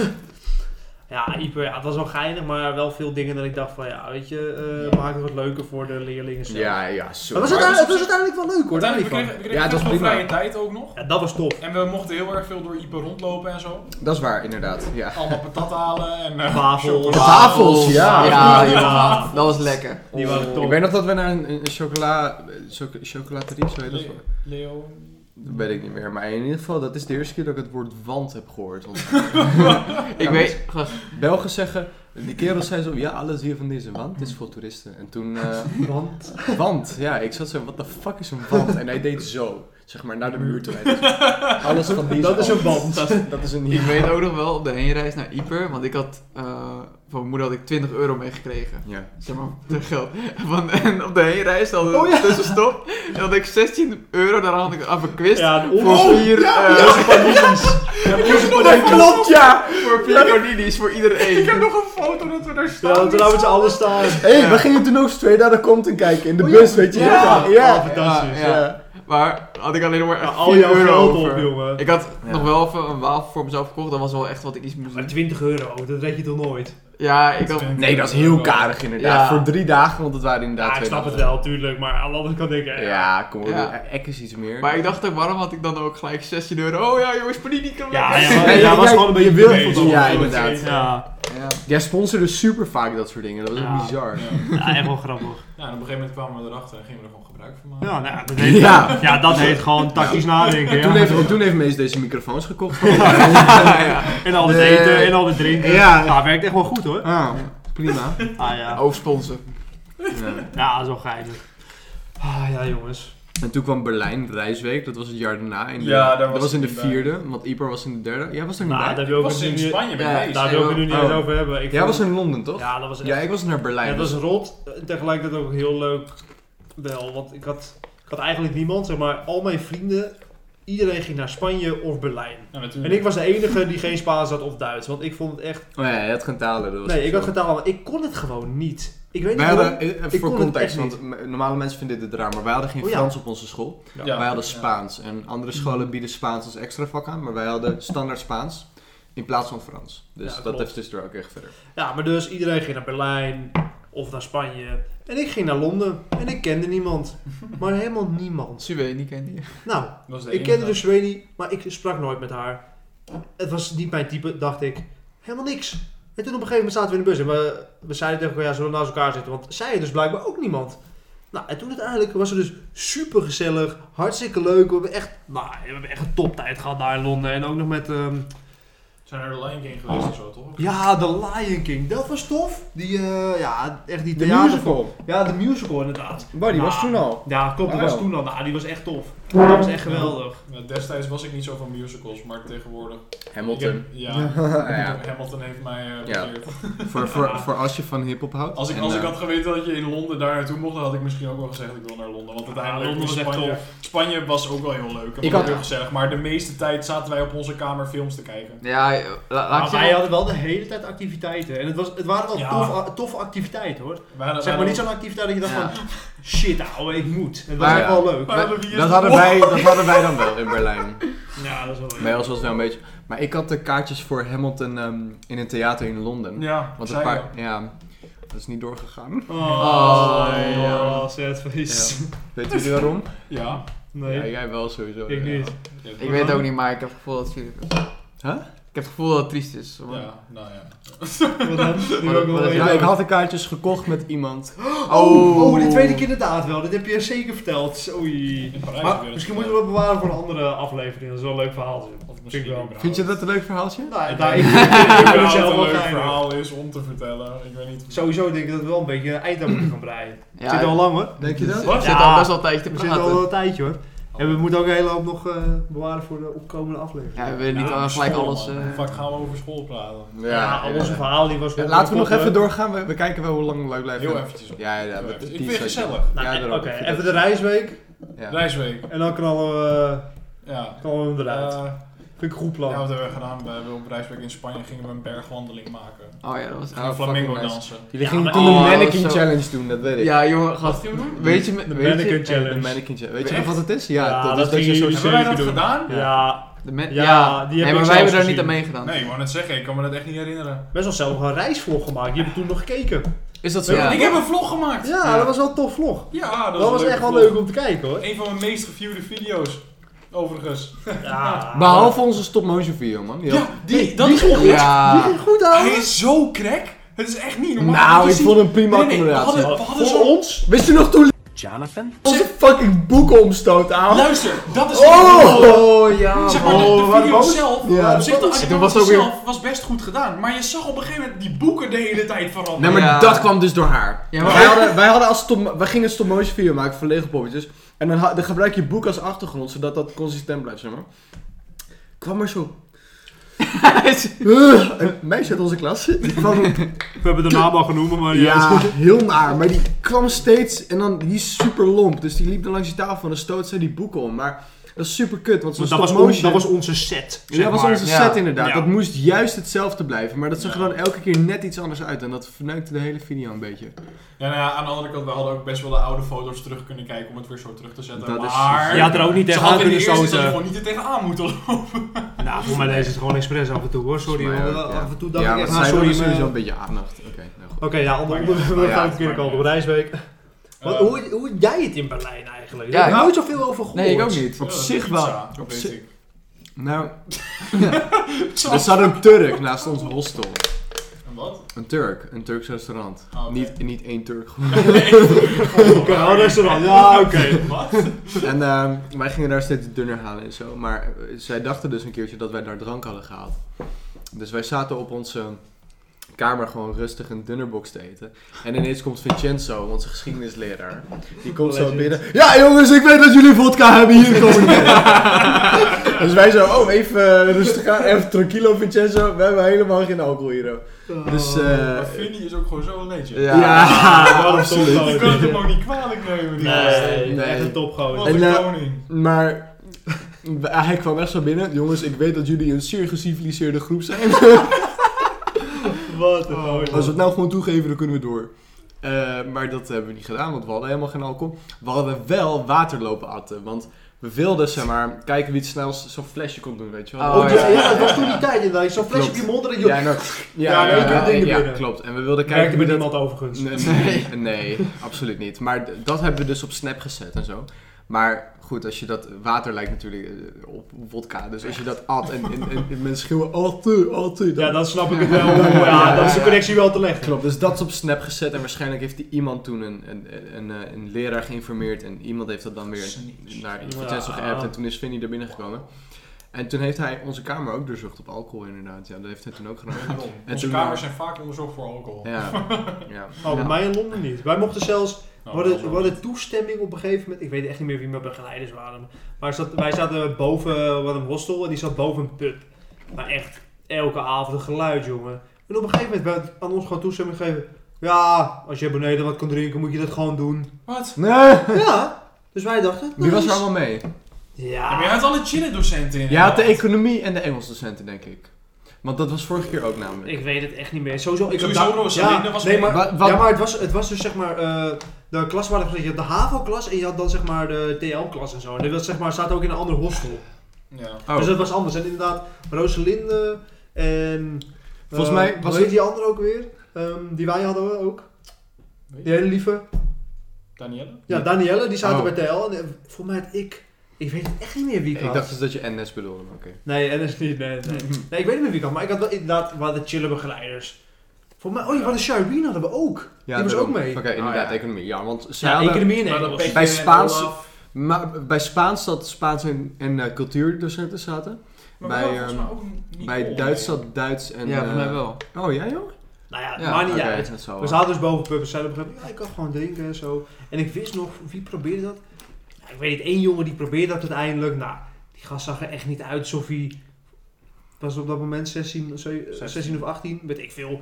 Ja, Ieper, ja, het was wel geinig, maar wel veel dingen dat ik dacht van, ja, weet je, eh, maak het wat leuker voor de leerlingen zelf. Ja, ja, zo. Maar het was, Maar uiteindelijk, het het was was uiteindelijk wel leuk hoor. daar Uiteindelijk, we niet van. kregen, we kregen Ja, het was best wel prima. vrije tijd ook nog. Ja, dat was top. En we mochten heel erg veel door Ieper rondlopen en zo. Dat is waar, inderdaad. Ja. Allemaal patat halen en... eh, Wafels. chocola. De wafels, ja. Ja, ja, dat was lekker. Die waren Ik top. weet nog dat we naar een, een chocola, eh, choc- chocolaterie, zo heet dat. Le- Leo... Dat weet ik niet meer. Maar in ieder geval, dat is de eerste keer dat ik het woord want heb gehoord. Want Ik weet, Belgen zeggen, die kerels zei zo, ja, alles hier van deze wand is voor toeristen. En toen, eh, Want wand, ja, ik zat zo, wat de fuck is een wand? En hij deed zo, zeg maar, naar de muur toe. Hij deed zo, Alles van deze dat is een band. Dat is, dat is een ik weet ook nog wel op de heenreis naar Ieper, want ik had, eh, van mijn moeder had ik 20 euro meegekregen. Ja. Zeg maar, terug geld. Van, en op de heenreis hadden we een tussenstop. En had ik 16 euro, daar had ik af een quiz. Ja, Oh, de voor on- vier, eh, Dat klopt, ja! voor vier corninis, voor iedereen. Ik heb nog een foto dat we daar staan. oh, Ja, want we laten met z'n allen staan. Hé, hey, we gingen toen ook straight naar de Compton kijken, in de bus, weet je. Ja. ja, Oh, fantastisch. ja. ja. Maar had ik alleen nog maar Ja, echt al 4 jouw euro geld over. op, jongen. Ik had Ja. nog wel even een wafel voor mezelf gekocht. Dat was wel echt wat ik iets moest Maar doen. 20 euro, oh, dat red je toch nooit? Ja, ik had... Nee, dat is heel karig inderdaad. Ja. Voor drie dagen, want het waren inderdaad Ja, ik twee snap het dagen. wel, tuurlijk, maar aan de andere kant denk ik, eh, Ja, kom op. Ja. Ek is iets meer. Maar ik dacht ook, waarom had ik dan ook gelijk 16 euro? Oh ja, jongens, panini kan Ja, lekker. ja, maar- Nee, ja, jij- was gewoon een beetje je wil- verkeerd. Ja, Gewoon inderdaad. verkeerd, Ja, Ja. Jij sponsorde super vaak dat soort dingen, dat was Ja. ook bizar. ja echt wel grappig. Ja, en op een gegeven moment kwamen we erachter en gingen we er gewoon gebruik van maken. Ja, nou, ja, dat heet, Ja. ja. dat heet gewoon tactisch nadenken. Ja. Toen heeft, toen heeft Mees deze microfoons gekocht. En al het Nee. eten en al het drinken. Ja. Ja. werkt echt wel goed hoor. Ah, prima. Ah ja, Hoofdsponsor. Ja. ja zo geinig. Ah ja jongens. En toen kwam Berlijn, Reisweek, dat was het jaar daarna. In de, Ja, daar was dat was in ik de niet vierde, want Ieper was in de derde. Jij was er niet Nou, daar bij? wil Ik ik was het nu in niet- Spanje Ja, bij daar deze. wil ik het nu niet eens Oh. over hebben. Ik Jij vond- was in Londen, toch? Ja, dat was echt Ja, ik was naar Berlijn. dus- Ja, dat was rot. En tegelijkertijd ook heel leuk. Wel, want ik had, ik had eigenlijk niemand, zeg maar, al mijn vrienden, iedereen ging naar Spanje of Berlijn. En Ja, natuurlijk. ik was de enige die geen Spaans had of Duits, want ik vond het echt... Oh ja, je had gaan talen. Dat was Nee, ik had zo. gedaan, maar ik kon het gewoon niet. Ik weet Wij niet hadden, waarom. eh, even voor Ik kon het context, echt want m- normale mensen vinden dit raar, maar wij hadden geen Oh ja. Frans op onze school. Ja. wij hadden Ja. Spaans. En andere scholen bieden Spaans als extra vak aan, maar wij hadden standaard Spaans in plaats van Frans. Dus Ja, dat klopt. heeft dus er ook echt verder. Ja, maar dus iedereen ging naar Berlijn of naar Spanje. En ik ging naar Londen en ik kende niemand. Maar helemaal niemand. Subway, niet ken je. Nou, Dat was de ik enige. kende de Sweeney, maar ik sprak nooit met haar. Het was niet mijn type, dacht ik. Helemaal niks. En toen op een gegeven moment zaten we in de bus en we, we zeiden tegen elkaar, ja, zullen we naast elkaar zitten? Want zij dus blijkbaar ook niemand. Nou, en toen uiteindelijk was het dus super gezellig, hartstikke leuk. We hebben echt, nou, we hebben echt een toptijd gehad daar in Londen. En ook nog met, ehm, Zijn er de Lion King geweest en zo, toch? ja, The Lion King. Dat was tof. Die, eh, ja, echt die theater- Ja, de musical inderdaad. Boy, Ah. Nou, al. Ja, klopt, dat Ah, was wel. toen al. Nou, die was echt tof. Dat was echt geweldig. Ja, destijds was ik niet zo van musicals, maar tegenwoordig... Ik Hamilton. heb- ja, ja. Hamilton heeft mij eh Ja. bekeerd. Voor, voor, voor als je van hip-hop houdt. Als, ik, En, als ik eh, had geweten dat je in Londen daar naartoe mocht, dan had ik misschien ook wel gezegd ik wil naar Londen. Want uiteindelijk Londen was echt Spanje, Spanje was ook wel heel leuk en Ik was had- heel gezellig. Maar de meeste tijd zaten wij op onze kamer films te kijken. Ja, eh, la- laat Maar ik je wij zeggen- hadden wel de hele tijd activiteiten. En het, was, het waren wel Ja. toffe, toffe activiteiten hoor. Wij hadden- Zeg wij maar niet zo'n activiteit dat je dacht Ja. van... Shit ouwe, ik moet. Het was Maar echt ja. wel leuk. Maar- hadden- dat, hadden wij, dat hadden wij dan wel in Berlijn. Ja, dat is wel Bij leuk. ons was het wel een beetje. Maar ik had de kaartjes voor Hamilton ehm, in een theater in Londen. Ja, Want een zij paar. Ja, dat is niet doorgegaan. Oh, Oh, ja. ja. sad face. Weet jullie waarom? wel. Ja. Nee, Ja, jij wel sowieso. ik ja. niet. Ik weet het ook niet, maar ik heb het gevoel dat Filip... Huh? Ik heb het gevoel dat het triest is. want- Ja, nou ja. Wat dan? Nu Wat- ook wat wel heb Ja, weten. ik had de kaartjes gekocht met iemand. Oh, oh, dit weet ik inderdaad wel. Dit heb je zeker verteld. Oei. In Parijs Maar heb je dat misschien gedaan. moeten we dat bewaren voor een andere aflevering. Dat is wel een leuk verhaal. Zin. Of Vind ik misschien wel. überhaupt. Vind je dat een leuk verhaaltje? Nou, Ja, daar ik ik denk dat vind het het zelf wel een leuk geinig. verhaal is om te vertellen. Ik weet niet. Sowieso denk ik dat we wel een beetje een eind aan moeten gaan breien. Ja, Zit al lang hoor. Denk je dat? Ik zit Ja. al best wel een tijdje te We Oh. zitten al praten. een tijdje hoor. En we moeten ook een hele hoop nog eh, bewaren voor de opkomende aflevering. Ja, we willen Eh, niet Ja, al- gelijk school, alles... man. eh, Fuck, gaan we over school praten. Ja, al onze verhaal die was... Ja, Laten we nog wel- even doorgaan. We, we kijken wel hoe lang we blijven. Heel eventjes op. Ja, ja, ja. met Heel eventjes. de Ik vind het t-shirtje. gezellig. Nou, Ja, eh, daarom. Oké, Ik vind even de dat- reisweek. Ja. Reisweek. En dan knallen we, Ja. knallen we hem eruit. Eh, Vind ik een goed plan. Ja, wat hebben we gedaan? Bij Wil Rijsbeek in Spanje gingen we een bergwandeling maken. We Oh ja, dat was gingen oh, flamingo fucking nice. dansen. Jullie Ja, gingen maar- toen oh, de mannequin zo. challenge doen, dat weet ik. Ja, jongen, Wat gast. gingen we doen? Weet je, De weet mannequin je, De challenge. mannequin challenge. Weet je nog Echt? wat het is? Ja, Ja, dat, dat is dat je ging zo... je- Hebben wij dat Zeker doen. gedaan? Ja, de man- Ja, ja, die heb nee, ik maar zelf wij hebben daar niet gezien. aan meegedaan. Nee, ik wou net zeggen, ik kan me dat echt niet herinneren. best wel zelf nog een reisvlog gemaakt. Die heb ik toen nog gekeken. Is dat zo? Ja. Ik heb een vlog gemaakt! Ja, dat was wel een tof vlog. Ja, dat, Dat was een echt wel leuke vlog. leuk om te kijken hoor. Een van mijn meest geviewde video's, overigens. Ja. Behalve onze stop-motion video, man. Ja. die, dat is goed. Die Ja. ging goed aan. Hij is zo crack. Het is echt niet normaal. Nou, ik is vond hem prima nee, nee, we accommodatie. hadden, we hadden Voor zo... ons. Wist je nog toen... Jonathan? Onze fucking boeken omstoot aan. Luister, dat is... Oh, ja. Zeg maar, de, Oh, de waar video boos? zelf, Ja. op zich de Toen was animatie ook weer- zelf, was best goed gedaan. Maar je zag op een gegeven moment die boeken de hele tijd veranderen. Nee, maar Ja. dat kwam dus door haar. Ja, maar- wij, hadden, wij, hadden als stop, wij gingen een stop-motion video maken voor Lego poppetjes. En dan, ha- dan gebruik je boek als achtergrond, zodat dat consistent blijft, zeg maar. Kwam er zo... Ugh, Eh, een meisje uit onze klas. Die kwam We hebben de naam al genoemd, maar Ja, heel naar. Maar die kwam steeds en dan, die is super lomp. Dus die liep dan langs die tafel en dan stoot zij die boeken om. Maar dat is super kut, want zo'n Want dat, was stop ons, motion... dat was onze set. Ja, dat was onze Ja. set inderdaad. Ja. Dat moest juist hetzelfde blijven. Maar dat zag er dan elke keer net iets anders uit. En dat verneukte de hele video een beetje. Ja, nou ja, aan de andere kant, we hadden ook best wel de oude foto's terug kunnen kijken om het weer zo terug te zetten. Dat is- maar... Je Je had er ook niet Ze tegenaan hadden in de kunnen eerste instantie stoten. gewoon niet er tegenaan moeten lopen. Nou, voor mij deze is het gewoon expres af en toe hoor. Sorry Volgens hoor. mij ook, ja. Af en toe dacht ja, ik maar echt, zij ah, wilden sorry. dus maar- sowieso een Oké, beetje aandacht. Oké, nou goed. ja, ander Maar ja, onderwerp. We maar ja, gaan het keer maar ja. op Rijsbeek. Wat, Eh, hoe, hoe heb jij het in Berlijn eigenlijk? Ja, Ja, ik ik- heb nooit zoveel over gehoord. Nee, ik ook niet. Op ja, zich pizza, wel. dat Op weet zich- ik. Nou, Zo. er zat een Turk naast ons hostel. En wat? Een Turk, een Turks restaurant. Oh, oké. Niet, niet één Turk. Oké, oh, restaurant. Ja, oké. Wat? en ehm, wij gingen daar steeds dunner halen en zo. Maar eh, zij dachten dus een keertje dat wij daar drank hadden gehaald. Dus wij zaten op onze kamer gewoon rustig een dunnerbox te eten. En ineens komt Vincenzo, onze geschiedenisleraar. Die komt zo Legend. binnen. Ja jongens, ik weet dat jullie vodka hebben hier komen. dus wij zo, oh even eh, rustig aan. Even tranquilo Vincenzo, we hebben helemaal geen alcohol hier. ook. Dus eh, Maar Vinny is ook gewoon zo'n legend. ja, Wat een absoluut. topgozer. Je kunt hem ook niet kwalijk nemen. Die gast. Nee, Nee. echt een topgozer. Wat En, een eh, koning. Maar hij kwam echt zo binnen. Jongens, ik weet dat jullie een zeer geciviliseerde groep zijn. Wat een gozer. Als we het nou gewoon toegeven, dan kunnen we door. Eh, maar dat hebben we niet gedaan, want we hadden helemaal geen alcohol. We hadden wel water lopen atten. Want we wilden, zeg maar, kijken wie het snelst zo'n flesje kon doen, weet je wel. Oh, Oh, ja, ja. ja, dat was toen die tijd. inderdaad. Zo'n flesje op Klopt. je mond en je... Ja, nou, ja, Ja, ja, leuke ja, dingen ja, binnen. klopt. En we wilden Kijken kijken bij wie dat... niemand overigens. Nee, nee, nee, absoluut niet. Maar d- dat hebben we dus op Snap gezet en zo. Maar goed, als je dat... Water lijkt natuurlijk eh, op vodka. Dus als je dat at en, en, en, en mensen schreeuwen... "Oh, Atte, atte. Ja, dan- dan snap ik het wel. maar Ja, Ja, dan ja, is de ja. connectie wel te leggen. Klopt, dus dat is op Snap gezet en waarschijnlijk heeft die iemand toen een, een, een, een, eh, een leraar geïnformeerd en iemand heeft dat dan weer naar Vincenzo Ja. geappt en toen is Vinny er binnen gekomen. En toen heeft hij onze kamer ook doorzocht op alcohol inderdaad, ja dat heeft hij toen ook gedaan. Wederom. En Onze toen- kamers zijn vaak onderzocht voor alcohol. Ja, ja. Oh, bij Ja. mij in Londen niet. Wij mochten zelfs... Nou, we, hadden, dat is we wel- hadden toestemming op een gegeven moment. Ik weet echt niet meer wie mijn begeleiders waren. Maar zat, wij zaten boven eh, wat een hostel en die zat boven een pub. Maar echt, elke avond een geluid, jongen. En op een gegeven moment werd aan ons gewoon toestemming gegeven. Ja, als je beneden wat kan drinken, moet je dat gewoon doen. Wat? Nee! Ja, dus wij dachten. Wie was er nice. allemaal mee? Ja, maar jij Ja. had alle chille docenten in. Je had de economie en de Engels docenten denk ik. Want dat was vorige keer ook namelijk. Ik weet het echt niet meer. Sowieso, ik Sowieso had- Rosalinde ja, was nee, mee. maar, Wa- wat- Ja, maar het was, het was dus zeg maar eh, de klas waar je had de HAVO-klas en je had dan zeg maar de TL-klas en zo. En dat was, zeg maar, zaten ook in een ander hostel. Ja. Oh. Dus dat was anders. En inderdaad, Rosalinde en... Volgens eh, mij was hoe het- heet die andere ook weer? Ehm, die wij hadden ook. Weet Die hele lieve. Danielle? Ja, Danielle, die zaten Oh. bij TL. En eh, voor mij had ik... Ik weet echt niet meer wie ik Ik had. dacht dus dat je NS bedoelde, maar oké. Nee, en dat is niet... Nee, nee. nee, ik weet niet meer wie ik had. Maar ik had wel inderdaad wat de chille begeleiders. Voor mij... Oh, ja, wat de Charlene hadden we ook. Ja, die was ook daarom. mee. Oké, inderdaad, ja. economie. Ja, want zij Oh, ja, hadden- economie en Maar Engels. dat Petje Bij en Spaans- Olaf. Maar bij Spaans zat Spaans en, en eh, cultuurdocenten zaten. Maar bij, wel volgens ehm, mij ook niet Bij Oh. Olaf. Duits zat Duits en... Ja, voor mij eh, wel. Oh, jij joh? Nou ja, Ja, maar niet Oké, uit. dat zal We wel. zaten dus boven pub en zeiden op een gegeven moment, ja, ik kan gewoon drinken en zo. En ik wist nog, wie probeerde dat? Ja, ik weet niet, één jongen die probeerde dat uiteindelijk. Nou, die gast zag er echt niet eh, uit alsof hij... Was op dat moment 16, zo- eh, 16 of 18, weet ik veel.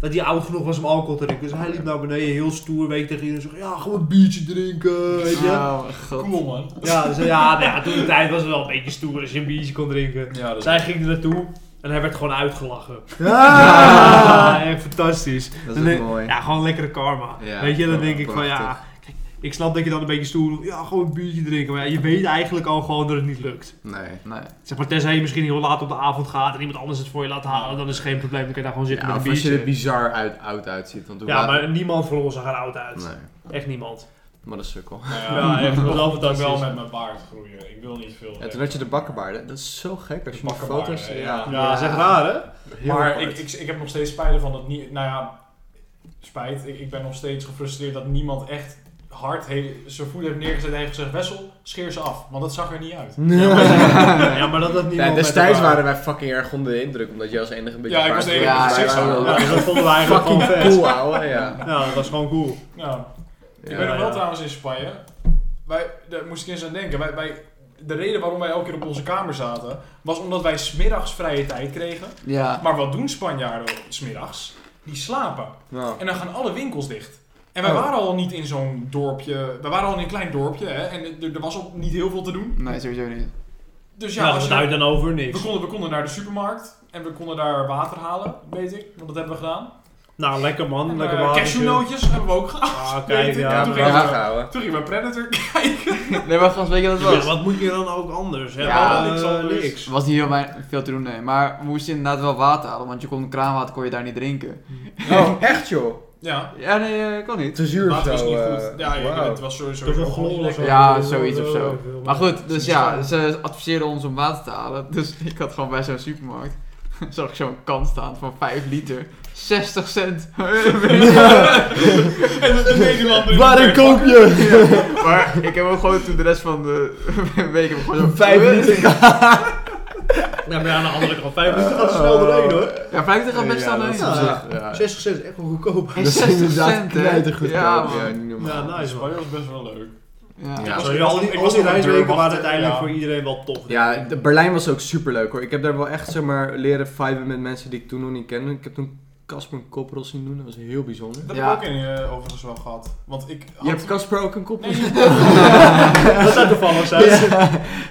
dat hij oud genoeg was om alcohol te drinken. Dus hij liep naar beneden, heel stoer, weet je, tegen iedereen. Zeg, ja, gewoon een biertje drinken, weet je. Oh, god. Cool man. Ja, dus, ja, nou ja, toen de tijd was het wel een beetje stoer als je een biertje kon drinken. Ja, dat Zij ging er naartoe en hij werd gewoon uitgelachen. Ja. Ja, echt fantastisch. Dat Dan is ook denk- mooi. Ja, gewoon lekkere karma. Ja, weet je, dan ja, denk ik van ja. prachtig. kijk, Ik snap dat je dan een beetje stoer doet. Ja, gewoon een biertje drinken. Maar ja, je weet eigenlijk al gewoon dat het niet lukt. Nee. Nee. Zeg maar, tenzij je misschien heel laat op de avond gaat en iemand anders het voor je laat halen, dan is het geen probleem. Dan kun je daar gewoon zitten Ja, met of een als je er biertje. bizar uit, oud uitziet. Want hoe Ja, laat- maar niemand van ons zag er oud uit. Nee, Echt niemand. maar dat is sukkel. Ja, echt, dat is wel Ik wil fantastisch. wel met mijn baard groeien. Ik wil niet veel. En toen had je de bakkenbaarden. Dat is zo gek als je De die foto's... bakkenbaarden, Ja, Ja, zeg raar hè? heel Maar ik, apart. ik, ik heb nog steeds spijt van dat niet. Nou ja, spijt. Ik, ik ben nog steeds gefrustreerd dat niemand echt hard he- zijn voet heeft neergezet en heeft gezegd: Wessel, scheer ze af. Want dat zag er niet uit. Nee. Ja, maar dat dat niet Ja, destijds waren wij fucking erg onder de indruk, omdat jij als enige een beetje... Ja, ik was de enige paars- gezicht- wij waren Ja, wel Ja, dat vonden wij eigenlijk gewoon Fucking vet. cool, ouwe. Ja. Ja, dat was gewoon cool. Nou, ik Ja. ben nog wel ja. trouwens in Spanje. Wij, daar moest ik eens aan denken. Wij, wij, de reden waarom wij elke keer op onze kamer zaten, was omdat wij smiddags vrije tijd kregen. Ja. Maar wat doen Spanjaarden smiddags? Die slapen. Nou, En dan gaan alle winkels dicht. En wij Oh. waren al niet in zo'n dorpje. We waren al in een klein dorpje hè, en er, er was al niet heel veel te doen. Nee, sowieso niet. Dus ja, Ja, Nou, als dat je- duidt dan over niks. we, konden, we konden naar de supermarkt en we konden daar water halen, weet ik. Want dat hebben we gedaan. Nou, lekker man, lekker Eh, water. Cashewnootjes hebben we ook gehaald. Ah, Weet kijk, ik, ja. ja, toen maar- gingen braaf, we- ouwe. Toen gingen we Predator kijken. Nee, maar gast, weet je wat Ja, het was? wat moet je dan ook anders? Hè? Ja, Eh, niks dus- anders. Er was niet heel weinig, veel te doen, nee. Maar we moesten inderdaad wel water halen, want je kon kraanwater kon je daar niet drinken. Oh, echt joh? Ja, Ja, nee, eh, kan niet. Te zuur of water zo. was niet eh, goed. Ja, ik- wauw. het was sowieso... Te veel chloor gewoon niet of zo. lekker. Ja, zoiets of zo. Heel veel. Maar goed, dus Die ja, staan. ze adviseerden ons om water te halen. Dus ik had gewoon bij zo'n supermarkt. Zag ik zo'n kan staan van 5 liter. 60 cent. En dat is Nederlander. Waar een koopje! maar ik heb ook gewoon toen de rest van de week heb ik gewoon zo'n Vijf minuten Nou, maar ja, aan de andere kant, 5 minuten gaat het snel doorheen hoor. Ja, 5 liter gaat best Ja, wel dat is heen. Ja. op zich, ja. 60 cent is echt wel goedkoop. En Dat is 60 inderdaad cent, hè? knijtergoedkoop, Ja, man. Ja, niet normaal. Ja, nice man. Spanje was best wel leuk. Ja. Ja. Zo, ja, al die, Ik al was die op een reisweken deur waren wachten, uiteindelijk ja. voor iedereen wel tof. denk Ja, ik. de- Berlijn was ook super leuk hoor. Ik heb daar wel echt zeg maar leren viben met mensen die ik toen nog niet kende. Ik heb toen Casper een koprol zien doen, dat was heel bijzonder. Dat Ja. heb ik ook in, eh, overigens wel gehad. Want ik Je hebt had... Casper ook een koprol? Nee, dat zou toevallig zijn.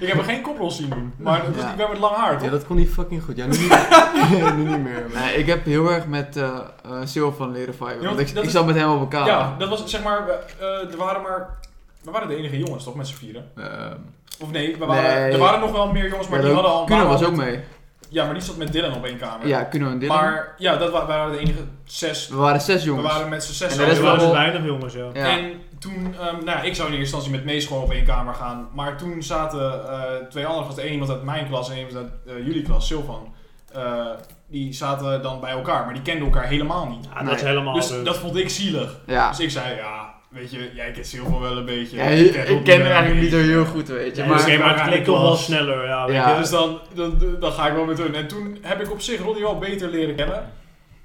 ik heb er geen koplos zien doen. Maar dat was Ja. ik ben met lang haar, toch? Ja, dat kon niet fucking goed. Ja, nu niet, nu niet meer. maar- Nee, ik heb heel erg met eh eh, Sil van leren viben. Ja, Want want ik, dat ik is- zat met hem op elkaar. Ja, dat was zeg maar, we- eh, er waren maar. We waren de enige jongens toch met z'n vieren? Ehm, Of nee, we waren, Nee. er waren nog wel meer jongens, maar Ja, die dat- hadden al. Kuno waren was al ook met- mee. Ja, maar die zat met Dylan op één kamer. Ja, Kuno en Dylan. Maar ja, dat wa- wij waren de enige zes. we waren zes jongens. We waren met z'n En zes. Er de rest is samen. wel waren dus wel- weinig jongens, ja. Ja. En toen, ehm, nou ja, ik zou in eerste instantie met Mees gewoon op één kamer gaan. Maar toen zaten eh, twee anderen, was de ene iemand uit mijn klas en één iemand uit eh, jullie klas, Silvan. eh, die zaten dan bij elkaar, maar die kenden elkaar helemaal niet. Ja, dat Nee. is helemaal Dus leuk. dat vond ik zielig. ja. Dus ik zei, ja, weet je, jij kent Silvan wel een beetje. Ja, Ik ken ik Rob wel ken een hem eigenlijk niet beetje. zo heel goed, weet je. Ja, maar Oké, maar het maar- klikt toch wel sneller, ja. weet Ja. je. Ja, dus dan, dan, dan ga ik wel met hun. En toen heb ik op zich Ronnie wel beter leren kennen.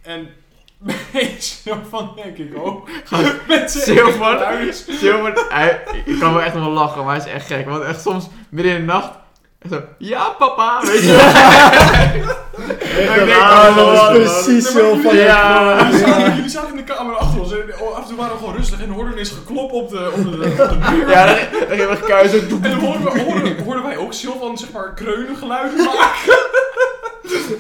En Mees, van denk ik ook. Met zijn Silvan? huis. Silver, hij, ik kan wel echt nog wel lachen, maar hij is echt gek. Want echt soms midden in de nacht, echt zo, ja papa, weet je. Echt Ik een denk, aardige oh, man, man. precies Nee, maar zo van jullie- ja. Jullie zaten- Jullie zaten in de kamer achter ons en af en toe waren we gewoon rustig en hoorden we eens geklop op de, op de, op de muur. Ja, dan, dan ging we kuis ook. En dan hoorden, we, hoorden, hoorden wij ook Silvan zeg maar kreunen geluiden maken.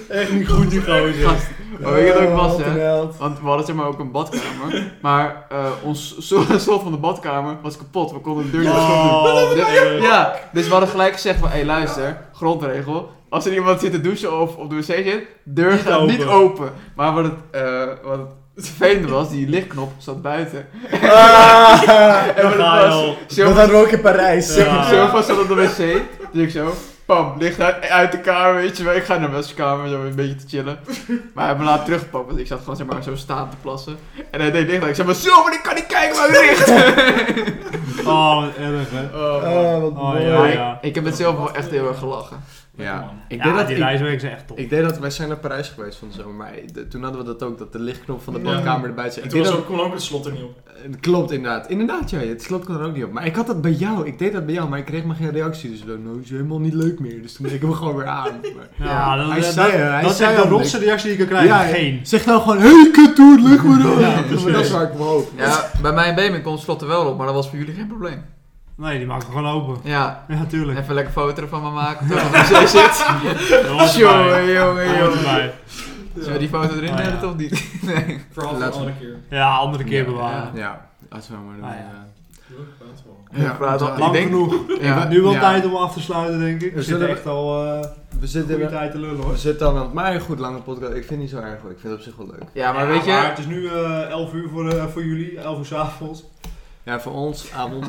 Echt niet goed, die gozer. Gast, Maar weet je wat ook was, Oh, Wat een hè? held. Want we hadden zeg maar ook een badkamer. Maar eh ons so- stof van de badkamer was kapot. We konden de deur niet Oh, open doen. nee. Ja, dus we hadden gelijk gezegd van, hé hey, luister, grondregel. Als er iemand zit te douchen of op de wc zit, deur Niet gaat open. niet open. Maar wat het, eh, wat het vervelende was, die lichtknop zat buiten. Ah, En wat het Ga je was, al. dat Silva hadden we ook in Parijs. Ja. Silva zat op de wc. Dus ik zo, pam, licht uit, uit de kamer, weet je wel. Ik ga naar de kamer zo een beetje te chillen. Maar hij heeft me laat teruggepakt, want ik zat gewoon zeg maar zo staan te plassen. En hij deed licht uit. Ik zei, maar Silva, ik kan niet kijken waar het ligt. Oh, wat erg, hè. Oh, man. Ah, wat Oh, mooi. ja. Oh, Ik heb met Silva wel echt heel erg gelachen. Ja. man. Ik ja, deed dat, die ik, reiswerk zijn echt top. ik deed dat, wij zijn naar Parijs geweest van de zomer, maar de- toen hadden we dat ook, dat de lichtknop van de Ja. badkamer erbij zat. En Ik toen deed was dat, ook, kon ook het slot er niet op. eh, Klopt, inderdaad. Inderdaad, ja, het slot kon er ook niet op. Maar ik had dat bij jou, ik deed dat bij jou, maar ik kreeg maar geen reactie, dus ik dacht, nou, is helemaal niet leuk meer. Dus toen deed ik hem gewoon weer aan. Maar- Ja, dat, Hij dat- zei, dat- hè, hij dat is zei echt de al rotste reactie die je kan krijgen. Ja, Geen. Zeg nou gewoon, hey kut dude, leg me door. maar dat is waar ik me hoop. Ja, bij mij en Benjamin kon het slot er wel op, maar dat was voor jullie geen probleem. Nee, die maken we gewoon open. Ja, Ja, tuurlijk. even lekker foto van me maken, terwijl het op de zit. Dat hoort erbij. Jongen, jongen, Dat hoort jongen. erbij. Zullen we die foto erin Ah, ja. hebben of niet? Nee. Verhaal voor een Laten we- andere keer. Ja, andere keer Ja, bewaren. Ja, laten we maar doen. Ah, ja. ja. Doe ik praat wel. Ja, praat al- want, ik Lang denk- genoeg. Ja. Nu wel Ja. tijd om af te sluiten, denk ik. We Zullen zitten we- echt al eh we zitten goede tijd te lullen, hoor. We zitten al aan het maar een goed lange podcast. Ik vind het niet zo erg hoor. Ik vind het op zich wel leuk. Ja, maar Ja, weet maar je... het is nu eh 11 uur voor, eh, voor jullie, 11 uur 's avonds. Dus Ja, voor ons, avond.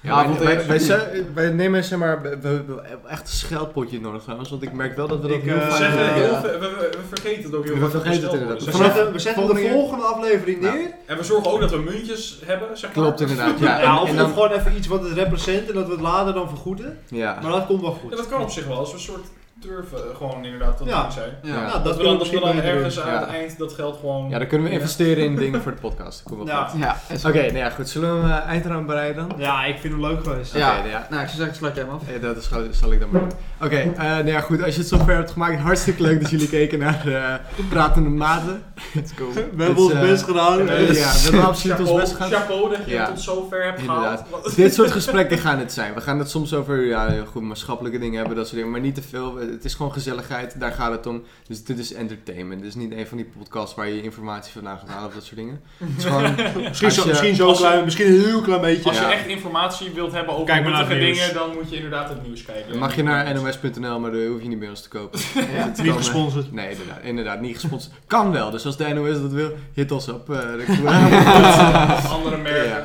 Ja, wij- avond wij, even. wij, zijn- wij nemen zeg maar, we, we- we hebben echt een scheldpotje nodig trouwens, want ik merk wel dat we dat Ik, heel eh, vaak Zeg, doen. eh, ja. heel veel- we, we- we vergeten het ook heel We vaak. vergeten het Stel, dus inderdaad. we We Vanaf- zeggen- zetten, we zetten de volgende keer- volgende aflevering Nou, neer. En we zorgen ook dat we muntjes hebben, zeg maar. Dus Klopt inderdaad, ja. Ja, En, of, en of dan, gewoon even iets wat het represent en dat we het later dan vergoeden. Maar ja. dat komt wel Ja, goed. dat kan op zich wel, als we een soort durven gewoon inderdaad dat Ja. doen zijn. Ja. Nou, Dat Dat, we kunnen we dan, dat we misschien dan beter ergens doen. aan het Ja. eind dat geld gewoon... ja, dan kunnen we investeren in dingen voor de podcast. Dat komt wel Ja. goed. Ja, is Oké, nou ja, goed. Zullen we hem eh, eindraam bereiden dan? Ja, ik vind hem leuk geweest. Oké, Ja. nou ja. Nou, ik zou zeggen, sluit jij hem af. Ja, Eh, dat is, gewoon- zal ik dan maar doen. Oké, eh, nou ja, goed. Als je het zover hebt gemaakt, hartstikke leuk dat jullie keken naar eh, Pratende Maten. Let's go. We hebben ons eh, best gedaan. Ja, we hebben absoluut ons best gedaan. Chapeau dat je Ja. het tot zover hebt Inderdaad. gehaald. Dit soort gesprekken gaan het zijn. We gaan het soms over ja, goed, maatschappelijke dingen hebben, dat soort dingen. Maar niet te veel. Eh, Het is gewoon gezelligheid, daar gaat het om. Dus dit is entertainment. Dit is niet een van die podcasts waar je informatie vandaan gaat halen of dat soort dingen. Het is gewoon, Misschien, Als zo, je- misschien zo als je- klein, misschien een heel klein beetje. Als Ja. je echt informatie wilt hebben over Kijk maar naar nuttige het nieuws. dingen, dan moet je inderdaad het nieuws kijken. dan mag je naar nos.nl, maar daar hoef je niet bij ons te kopen. Ja. Het Niet kan, eh, gesponsord. Nee, inderdaad, inderdaad, niet gesponsord. Kan wel, dus als de NOS dat wil, hit ons op. eh, dan- Andere Ja. merken.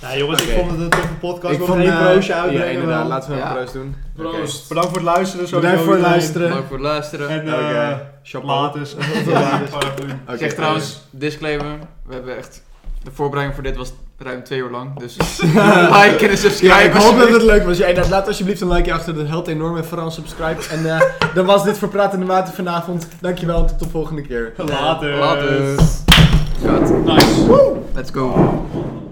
Ja, jongens, Oké. ik vond het een toffe podcast. Ik We vond gaan eh, één broosje uitbrengen. Ja, inderdaad, wel. laten we Ja. een proost doen. Oké. Proost. Bedankt voor het luisteren. sowieso Bedankt voor het iedereen. luisteren. Bedankt voor het luisteren. En eh Oké. later. Oké, zeg trouwens, eh, disclaimer, we hebben echt... De voorbereiding voor dit was ruim twee uur lang, dus like en subscribe. Ja, ik hoop dat alsjeblieft. het leuk was. Ja, inderdaad, laat alsjeblieft een likeje achter. Dat helpt enorm. En vooral subscribe. En eh, dan was dit voor Pratende Maten vanavond. Dankjewel en tot de volgende keer. Later. Eh, Later. Nice. Let's go. Oh, man.